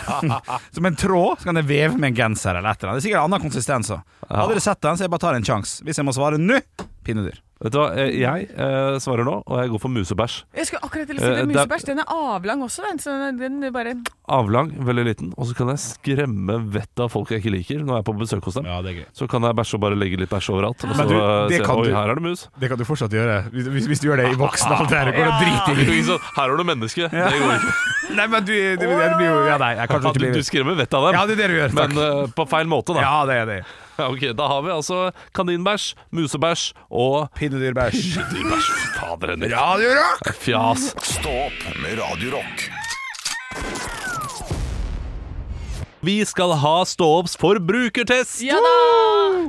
Som en tråd, så kan jeg veve med en genser eller et eller annet. Det er sikkert annen konsistens òg. Hadde dere sett den, så jeg bare tar en sjanse. Hvis jeg må svare nå pinnedyr.
Vet du hva, Eh, jeg eh, svarer nå, og jeg går for musebæsj.
Jeg skulle akkurat til å si
Eh,
det.
det er-
Musebæsj, den er avlang også, den. Så den den bare
avlang, veldig liten, og så kan jeg skremme vettet av folk jeg ikke liker når jeg er på besøk hos dem.
Ja, det er gøy.
Så kan jeg bæsje og bare legge litt bæsj overalt. Og så
Men du,
eh,
det
se,
kan
Oi,
du-
her er det mus.
Det kan du fortsatt gjøre, hvis, du gjør det i voksen alder. Går og driter
Ikke sånn, Her har du menneske. Det går ikke.
Nei, men du, du, du, du blir jo Ja, nei, jeg
Ja,
kanskje
du,
ikke blir
du skremmer vettet av dem,
Ja, det er det du gjør. Takk.
men eh, på feil måte, da.
Ja, det er det.
Ja, ok, Da har vi altså kaninbæsj, musebæsj og
Pinnedyrbæsj.
Dyrbæsj. Fader, Henrik.
Radio Rock!
Fjas.
Stå opp med Radio Rock
Vi skal ha Ståops forbrukertest!
Ja da!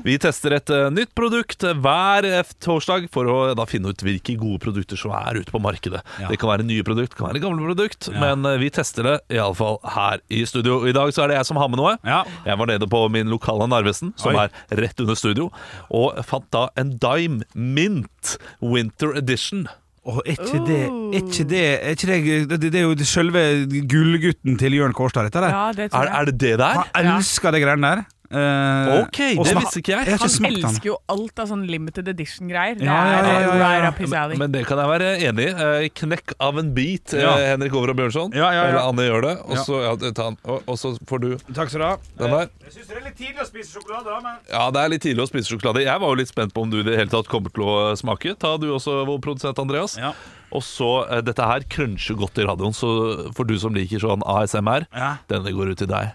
Vi tester et eh, nytt produkt hver eh, torsdag for å da finne ut hvilke gode produkter som er ute på markedet.
Ja.
Det kan være nye produkt, det kan være gamle produkt, men eh, vi tester det iallfall her i studio. I dag så er det jeg som har med noe.
Ja.
Jeg var nede på min lokale Narvesen, som
Oi.
er rett under studio, og fant da en Dime Mint Winter Edition.
Og er ikke det er ikke det, er ikke det, det, det er jo selve gullgutten til Jørn Kårstad, dette der.
Ja, det tror
Er,
jeg.
er det det der?
Han elsker de greiene der. Eh,
Ok, det
smak-
visste ikke jeg.
har ikke
Han
smakt den.
elsker jo alt av sånn limited edition-greier. Det
Ja, ja,
er
ja, ja, ja.
right up his alley.
Men det kan jeg være enig i. Eh, Knekk av en bit, eh,
Ja.
Henrik Over og Bjørnson.
Ja, ja, ja.
Eller Anne gjør det. Og
Ja.
så, ja, ta den. Og, og så får du
Takk skal du ha.
den der.
Jeg syns det er litt tidlig å spise sjokolade, da, men
Ja, det er litt tidlig å spise sjokolade. Jeg var jo litt spent på om du i det hele tatt kommer til å eh, smake. Ta du også, vår produsent Andreas.
Ja.
Og så eh, Dette her cruncher godt i radioen, så for du som liker sånn ASMR,
Ja.
denne går ut til deg.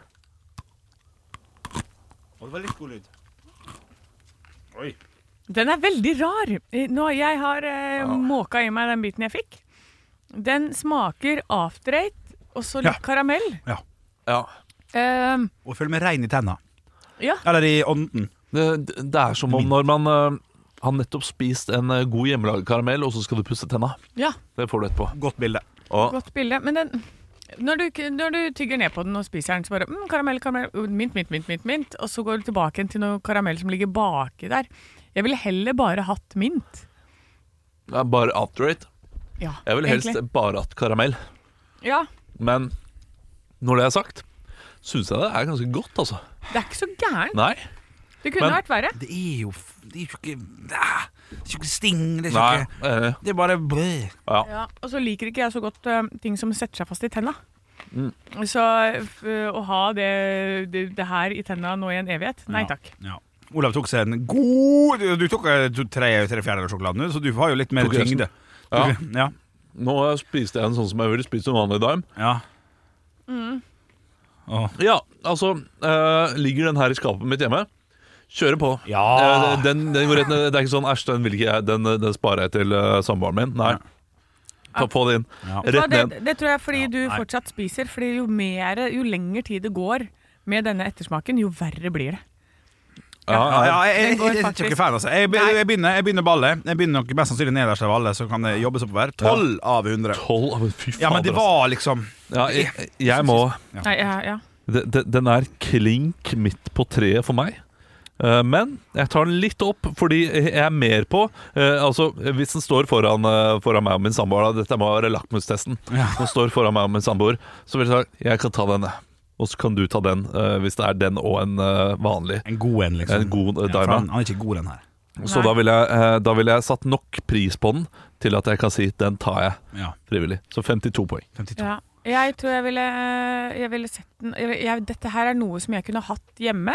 Det var litt god lyd. Oi.
Den er veldig rar. Eh, Nå, jeg har
Ah.
eh, måka i meg den biten jeg fikk. Den smaker afterate og så litt
Ja.
karamell.
Ja.
Eh,
Og følg med rein i tenna.
Ja.
Eller i ånden.
Det, det er som om når man eh, har nettopp spist en eh, god hjemmelaget karamell, og så skal du pusse tenna.
ja,
Det får du etterpå.
Godt bilde.
Og,
godt bilde. Men den når du, ikke- når du tygger ned på den og spiser den, så bare mm, karamell, karamell, uh, mint, mint, mint, mint, mint. Og så går du tilbake igjen til noe karamell som ligger baki der. Jeg ville heller bare hatt mint.
ja, bare afterate.
Ja,
Jeg vil helst
egentlig.
bare hatt karamell.
Ja,
Men når det er sagt, syns jeg det er ganske godt, altså.
det er ikke så gærent.
Nei.
Det kunne
Men-
vært verre.
Det er jo f- Det er jo ikke Det er det er jo ikke sting. Det er, jo
Nei.
ikke,
eh,
det er bare blø.
Ja, og så liker ikke jeg så godt ø, ting som setter seg fast i tenna.
Mm.
Så f- å ha det, det, det her i tenna nå i en evighet, nei
Ja.
takk.
Ja. Olav tok seg en god Du tok eh, to- tre, tre fjerdedeler av sjokoladen, du, så du har jo litt mer
Tok resten.
tyngde.
Ja.
Du- Ja.
Nå spiste jeg en sånn som jeg ville spist en vanlig dime.
ja. Åh.
Ja, altså eh, Ligger den her i skapet mitt hjemme? Kjører på.
Ja.
Eh, den, den går rett ned. Det er ikke sånn æsj, den vil ikke jeg. Den, den sparer jeg til eh, samboeren min. Nei. Ta, få det inn.
Ja.
Så
Rett
det,
ned.
det tror jeg fordi du
nei.
fortsatt spiser, fordi jo, mer, jo lenger tid det går med denne ettersmaken, jo verre blir det.
Ja,
Ja, ja,
ja.
jeg, jeg,
Den går
jeg, jeg, er
faktisk.
ikke fan, altså. Jeg, be-
Nei.
jeg, begynner, jeg begynner ballet. Jeg begynner nok mest sannsynlig nederst av alle, så kan det jobbes oppover. 12 av 100.
12 av Fy fader.
Ja, men det var liksom
altså. ja, jeg, jeg må
Nei, ja, ja.
de- de- Den er klink midt på treet for meg. Eh, Men jeg tar den litt opp, fordi jeg er mer på eh, Altså, Hvis den står foran, eh, foran meg og min samboer da, Dette må være lakmustesten.
Ja.
Hvis Den står foran meg og min samboer, så vil jeg si jeg kan ta den. Og så kan du ta den, eh, hvis det er den og en eh, vanlig.
En god en, liksom.
En god, eh,
Ja, for
dime.
han, han er ikke god, den her.
Så da ville jeg, eh, da vil jeg satt nok pris på den til at jeg kan si den tar jeg
Ja,
frivillig. Så 52 poeng.
52.
ja. Jeg tror jeg ville, jeg ville sett den jeg, jeg, Dette her er noe som jeg kunne hatt hjemme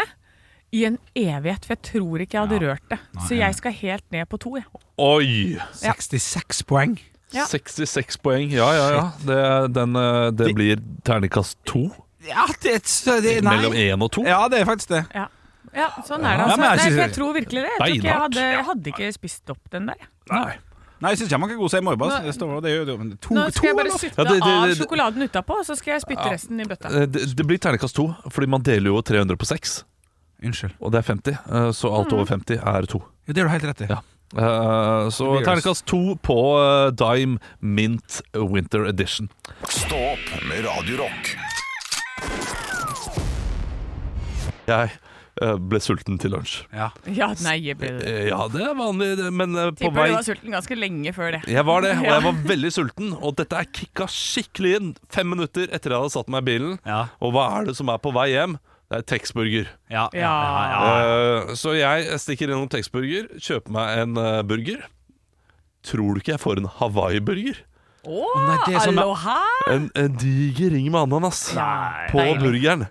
i en evighet, for jeg tror ikke jeg hadde
Ja.
rørt det.
Nei,
Så
jeg-
jeg skal helt ned på to, jeg.
Oi!
Ja.
66 poeng.
Ja.
66 poeng. Ja, ja, ja. Det, den, eh, det blir terningkast to.
Ja, det, så det nei.
Mellom én og to.
Ja, det er faktisk det.
Ja, sånn er det.
Ja,
Altså.
men jeg
Nei,
synes-
for jeg tror virkelig det. Jeg, tror ikke jeg,
Beinhardt.
hadde, jeg hadde ikke spist opp den der.
Nei.
Nei, jeg syns ikke man kan god seg i morgen. ass.
Nå-
Det står det, gjør det, men to,
Nå skal jeg
to,
bare
eller?
sutte
Ja, det- det-
av
det-
sjokoladen utapå, og så skal jeg spytte resten i bøtta.
Eh, Det, det blir terningkast to, fordi man deler jo 300 på seks,
Unnskyld.
og det er 50. eh, Så
Mm.
alt over 50 er to.
Ja, det har du helt rett i.
Ja. Eh, Så
Det blir
terningkast to på eh, Dime Mint Winter Edition.
Stå opp med Radio Rock.
Jeg eh, ble sulten til lunsj.
Ja.
Ja, nei, jeg ble det.
Eh, Ja, det er vanlig, det, men eh, på
Tipper
vei
du var sulten ganske lenge før det.
Jeg var det, og
Ja.
jeg var veldig sulten. Og dette er kicka skikkelig inn fem minutter etter jeg hadde satt meg i bilen.
Ja.
Og hva er det som er på vei hjem? Det er Texburger.
Ja, ja,
Ja.
ja, ja.
Eh, så jeg stikker innom Texburger, kjøper meg en eh, burger. Tror du ikke jeg får en Hawaii-burger?
Å,
nei, det er sånn-
aloha!
En, en diger ring med ananas på
Deilig.
burgeren.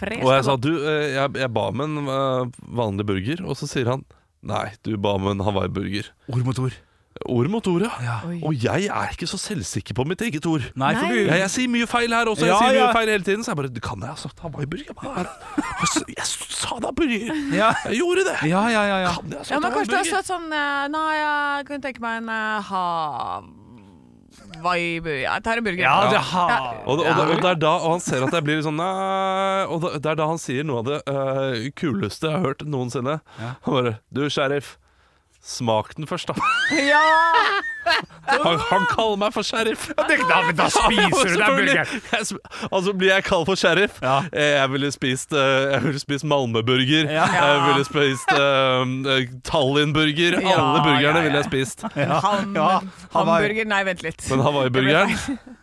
Fresh.
Og jeg sa du, eh, jeg, jeg ba om en eh, vanlig burger, og så sier han nei, du ba om en Hawaii-burger.
Eh, Ord mot ord.
Ord mot ord, ja.
Oi.
Og jeg er ikke så selvsikker på mitt eget ord.
Nei, for
Nei.
du
Ja, jeg sier mye feil her også. Jeg
Ja,
sier mye
ja.
feil hele tiden. Så jeg bare det Kan jeg ha sagt Hawaii-burger? Jeg, bare, hva s- jeg sa da burger!
Ja,
Jeg gjorde det!
ja, ja. ja, ja.
Kan jeg ha
Ja,
sagt
men kanskje du har
Hawaii-burger?
sagt sånn eh, Nei, jeg kunne tenke meg en eh, Hawaii-burger. Jeg tar en burger.
Ja, det har
Og, det- og, det- og det er da og han ser at jeg blir litt sånn Nei Og det, det er da han sier noe av det eh, kuleste jeg har hørt noensinne. Han bare Du, sheriff. Smak den først, da. Han, han kaller meg for sheriff.
Ja, det- Da, men da spiser du den
Selvfølgelig.
burgeren.
Jeg sp- Altså Blir jeg kalt for sheriff?
Ja.
Eh, Jeg ville spist, eh, jeg ville spist Malmøburger.
Ja.
Jeg ville spist eh, eh, Tallinnburger.
Ja,
Alle burgerne
ja, ja.
ville jeg spist.
Ham,
Ja, Hawaii.
hamburger Nei, vent litt.
Men Hawaii-burgeren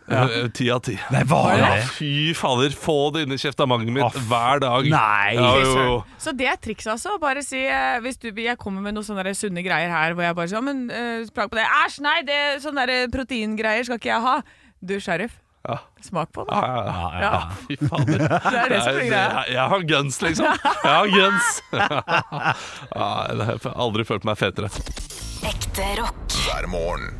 eh, Ti av ti.
Nei, var
Ja,
det?
fy fader. Få det inn i kjeftamangen mitt
Å, f-
hver dag.
Nei.
Ja, jo, jo.
Så det er trikset altså. Bare si eh, hvis du, Jeg kommer med noen sånne der sunne greier her hvor jeg bare sier «Ja, men eh, smak på det. Æsj, nei, det sånne der eh, proteingreier skal ikke jeg ha. Du, sheriff,
Ja. Ah.
smak på det.
Ja, ja, ja.
Ja,
Fy fader.
det er det som blir greia.
jeg, jeg har guns, liksom. Jeg har guns. ja, jeg har aldri følt meg fetere.
Ekte rock.
hver morgen.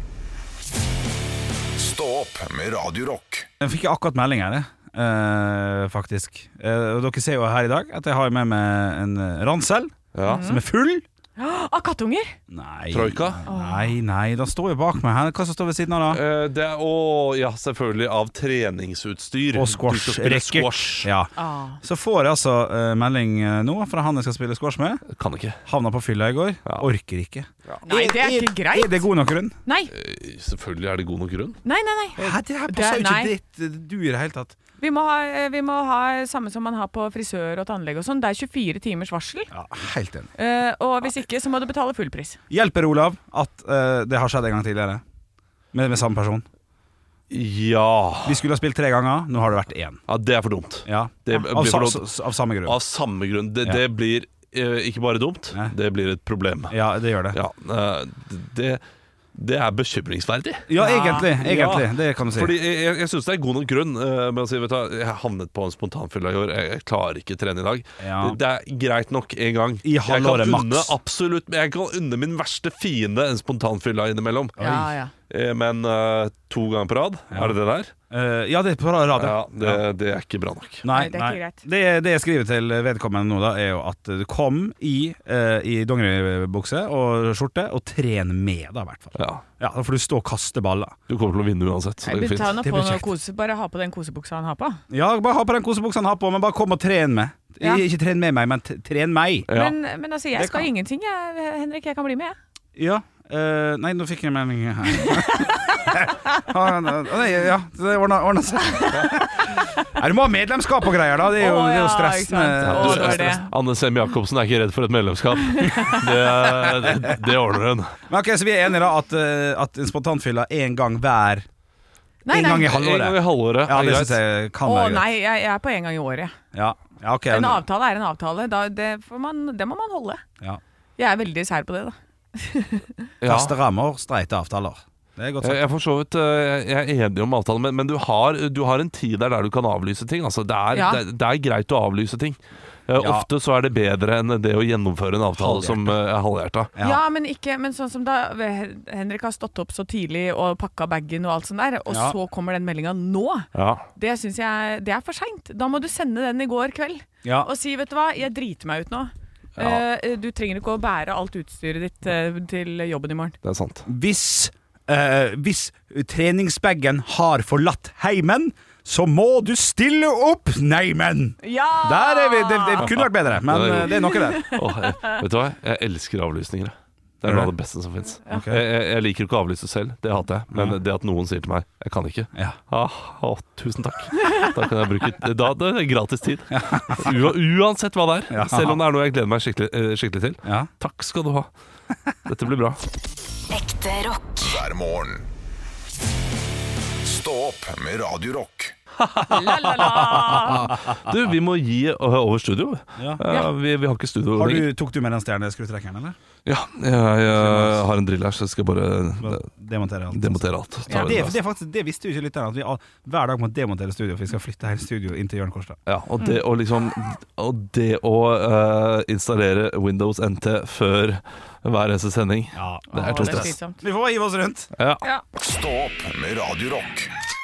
Stå opp med Radio Rock.
Jeg fikk akkurat melding her. jeg. eh, faktisk. Eh, og dere ser jo her i dag at jeg har med meg en eh, ransel
Ja.
som er full.
Av Ah, kattunger!
Nei.
Troika?
Nei, nei, den står jo bak meg her. Hva som står ved siden av da?
Eh, Det er, å, ja, selvfølgelig av treningsutstyr.
Og
Du
squash.
skal spille
racket.
squash.
Ja. Så får jeg altså eh, melding eh, nå fra han jeg skal spille squash med.
Kan ikke.
Havna på fylla i går. Orker ikke.
Nei, det er ikke
Er
greit.
det god nok grunn?
Nei,
Eh, Selvfølgelig er det god nok grunn.
nei, nei. nei.
Hæ, det her
Det-
passer jo ikke
nei.
ditt eh, du i det hele tatt.
Vi må, ha, eh, vi må ha samme som man har på frisør og tannlege og sånn. Det er 24 timers varsel.
Ja, Helt enig.
Eh, og hvis ikke, så må du betale full pris.
Hjelper Olav at eh, det har skjedd en gang tidligere? Med, med samme person.
Ja.
Vi skulle ha spilt tre ganger, nå har det vært én.
ja Det er for dumt.
Ja.
Det
av,
blir
sa-
for
s-
dumt.
s- av samme grunn.
Av samme grunn. Det,
Ja.
det blir eh, ikke bare dumt,
Nei.
det blir et problem.
Ja, det gjør det. Ja,
Ja, eh, det, det er bekymringsverdig.
egentlig. egentlig
Ja.
Det kan du si.
Fordi Jeg, jeg, jeg syns det er god nok grunn eh, med å si vet du, hva, jeg havnet på en spontanfylla i år. Jeg, jeg klarer ikke trene i dag.
Ja.
Det, det er greit nok en gang.
I
jeg
halvåret
kan
maks.
unne absolutt Jeg kan unne min verste fiende en spontanfylla innimellom.
Ja, ja.
Eh, Men eh, to ganger på rad, er det det der?
Eh, ja, det er på radio.
Ja, det, det er ikke bra nok.
Nei,
Nei, det er ikke greit.
Det, det jeg skriver til vedkommende nå, da, er jo at du kom i, eh, i dongeribukse og skjorte, og tren med, da, i hvert fall.
Ja.
Ja, da får du stå og kaste baller.
Du kommer til å vinne uansett. Så
Jeg
det går
begynte
fint.
han å
Det
få
blir
noe
kjekt.
kose. Bare ha på den kosebuksa han har på.
Ja, bare ha på den kosebuksa han har på, men bare kom og tren med.
Ja.
Ikke tren med meg, men t- tren meg.
Ja.
Men, men altså, jeg
Det
skal
kan-
ingenting, jeg, Henrik. Jeg kan bli med, jeg.
Ja. eh, nei, nå fikk jeg en melding her. Ah, nei, ja, det ordna, ordna seg. Nei, du må ha medlemskap og greier, da. Det er jo,
Å,
det er jo
ja,
stressende.
ikke sant. Å, det var
Du,
det.
Anne Sem Jacobsen er ikke redd for et medlemskap. Det, det, det ordner hun.
Men ok, Så vi er enige da at, eh, at en spontanfylla én gang hver
Nei,
En gang i
En gang
nei.
i
halvåret.
halvåret.
Ja,
er
det
greit.
syns jeg kan
Å
være greit.
nei, jeg, jeg er på en gang i året.
Ja. ja, ok.
En avtale er en avtale. Da, det, får man, det må man holde.
Ja.
Jeg er veldig sær på det, da.
Ja.
Faste rammer, streite avtaler. Det er godt
Jeg
sagt.
jeg er for så vidt eh, jeg er enig om avtalen, men, men du, har, du har en tid der, der du kan avlyse ting. Altså, det, er,
Ja.
det, det er greit å avlyse ting. Eh,
Ja.
Ofte så er det bedre enn det å gjennomføre en avtale
Halvhjerta.
som eh, er halvhjerta.
Ja.
Ja, men, ikke, men sånn som da Henrik har stått opp så tidlig og pakka bagen og alt sånt der, og
Ja.
så kommer den meldinga nå.
Ja.
Det syns jeg det er for seint. Da må du sende den i går kveld
Ja.
og si 'vet du hva, jeg driter meg ut nå'. Eh, du trenger ikke å bære alt utstyret ditt eh, til jobben i morgen.
Det er sant.
Hvis, eh, hvis treningsbagen har forlatt heimen, så må du stille opp, neimen!
Ja!
Der er vi. Det, det kunne vært bedre, men eh, det er noe der.
Åh, jeg, vet du hva? Jeg elsker avlysninger. jeg. Det er noe av det beste som fins.
Ok. Mm.
Jeg, jeg, jeg liker ikke å avlyse selv, det hater jeg. Men det at noen sier til meg 'jeg kan ikke',
Ja.
ah, å, tusen takk. Da kan jeg bruke Da da er det gratis tid. Ua- uansett hva det
Ja.
er. Selv om det er noe jeg gleder meg skikkelig, eh, skikkelig til.
Ja.
Takk skal du ha. Dette blir bra.
Ekte rock.
hver morgen. Stå opp med Radio Rock.
La, la, la.
Du, vi må gi eh, over studio.
Ah, Ja.
Eh, vi, vi har ikke studio
Har
lenger.
du, tok du med den stjerneskruttrekkeren, eller?
Ja, jeg, jeg har en drill her, så jeg skal bare eh,
Bare Demontere alt.
demontere alt. Ta
Ja, det,
det
det, er faktisk, det visste jo ikke lytterne, at vi all, hver dag må demontere studio, for vi skal flytte hele studio inn til Jørn Kårstad.
Ja, og det å liksom Og det å eh, installere Windows NT før hver eneste sending,
Ja.
det
Å,
er to
det er
stress.
slitsomt.
Vi får hive oss rundt.
Ja.
Stå opp med Radio Rock.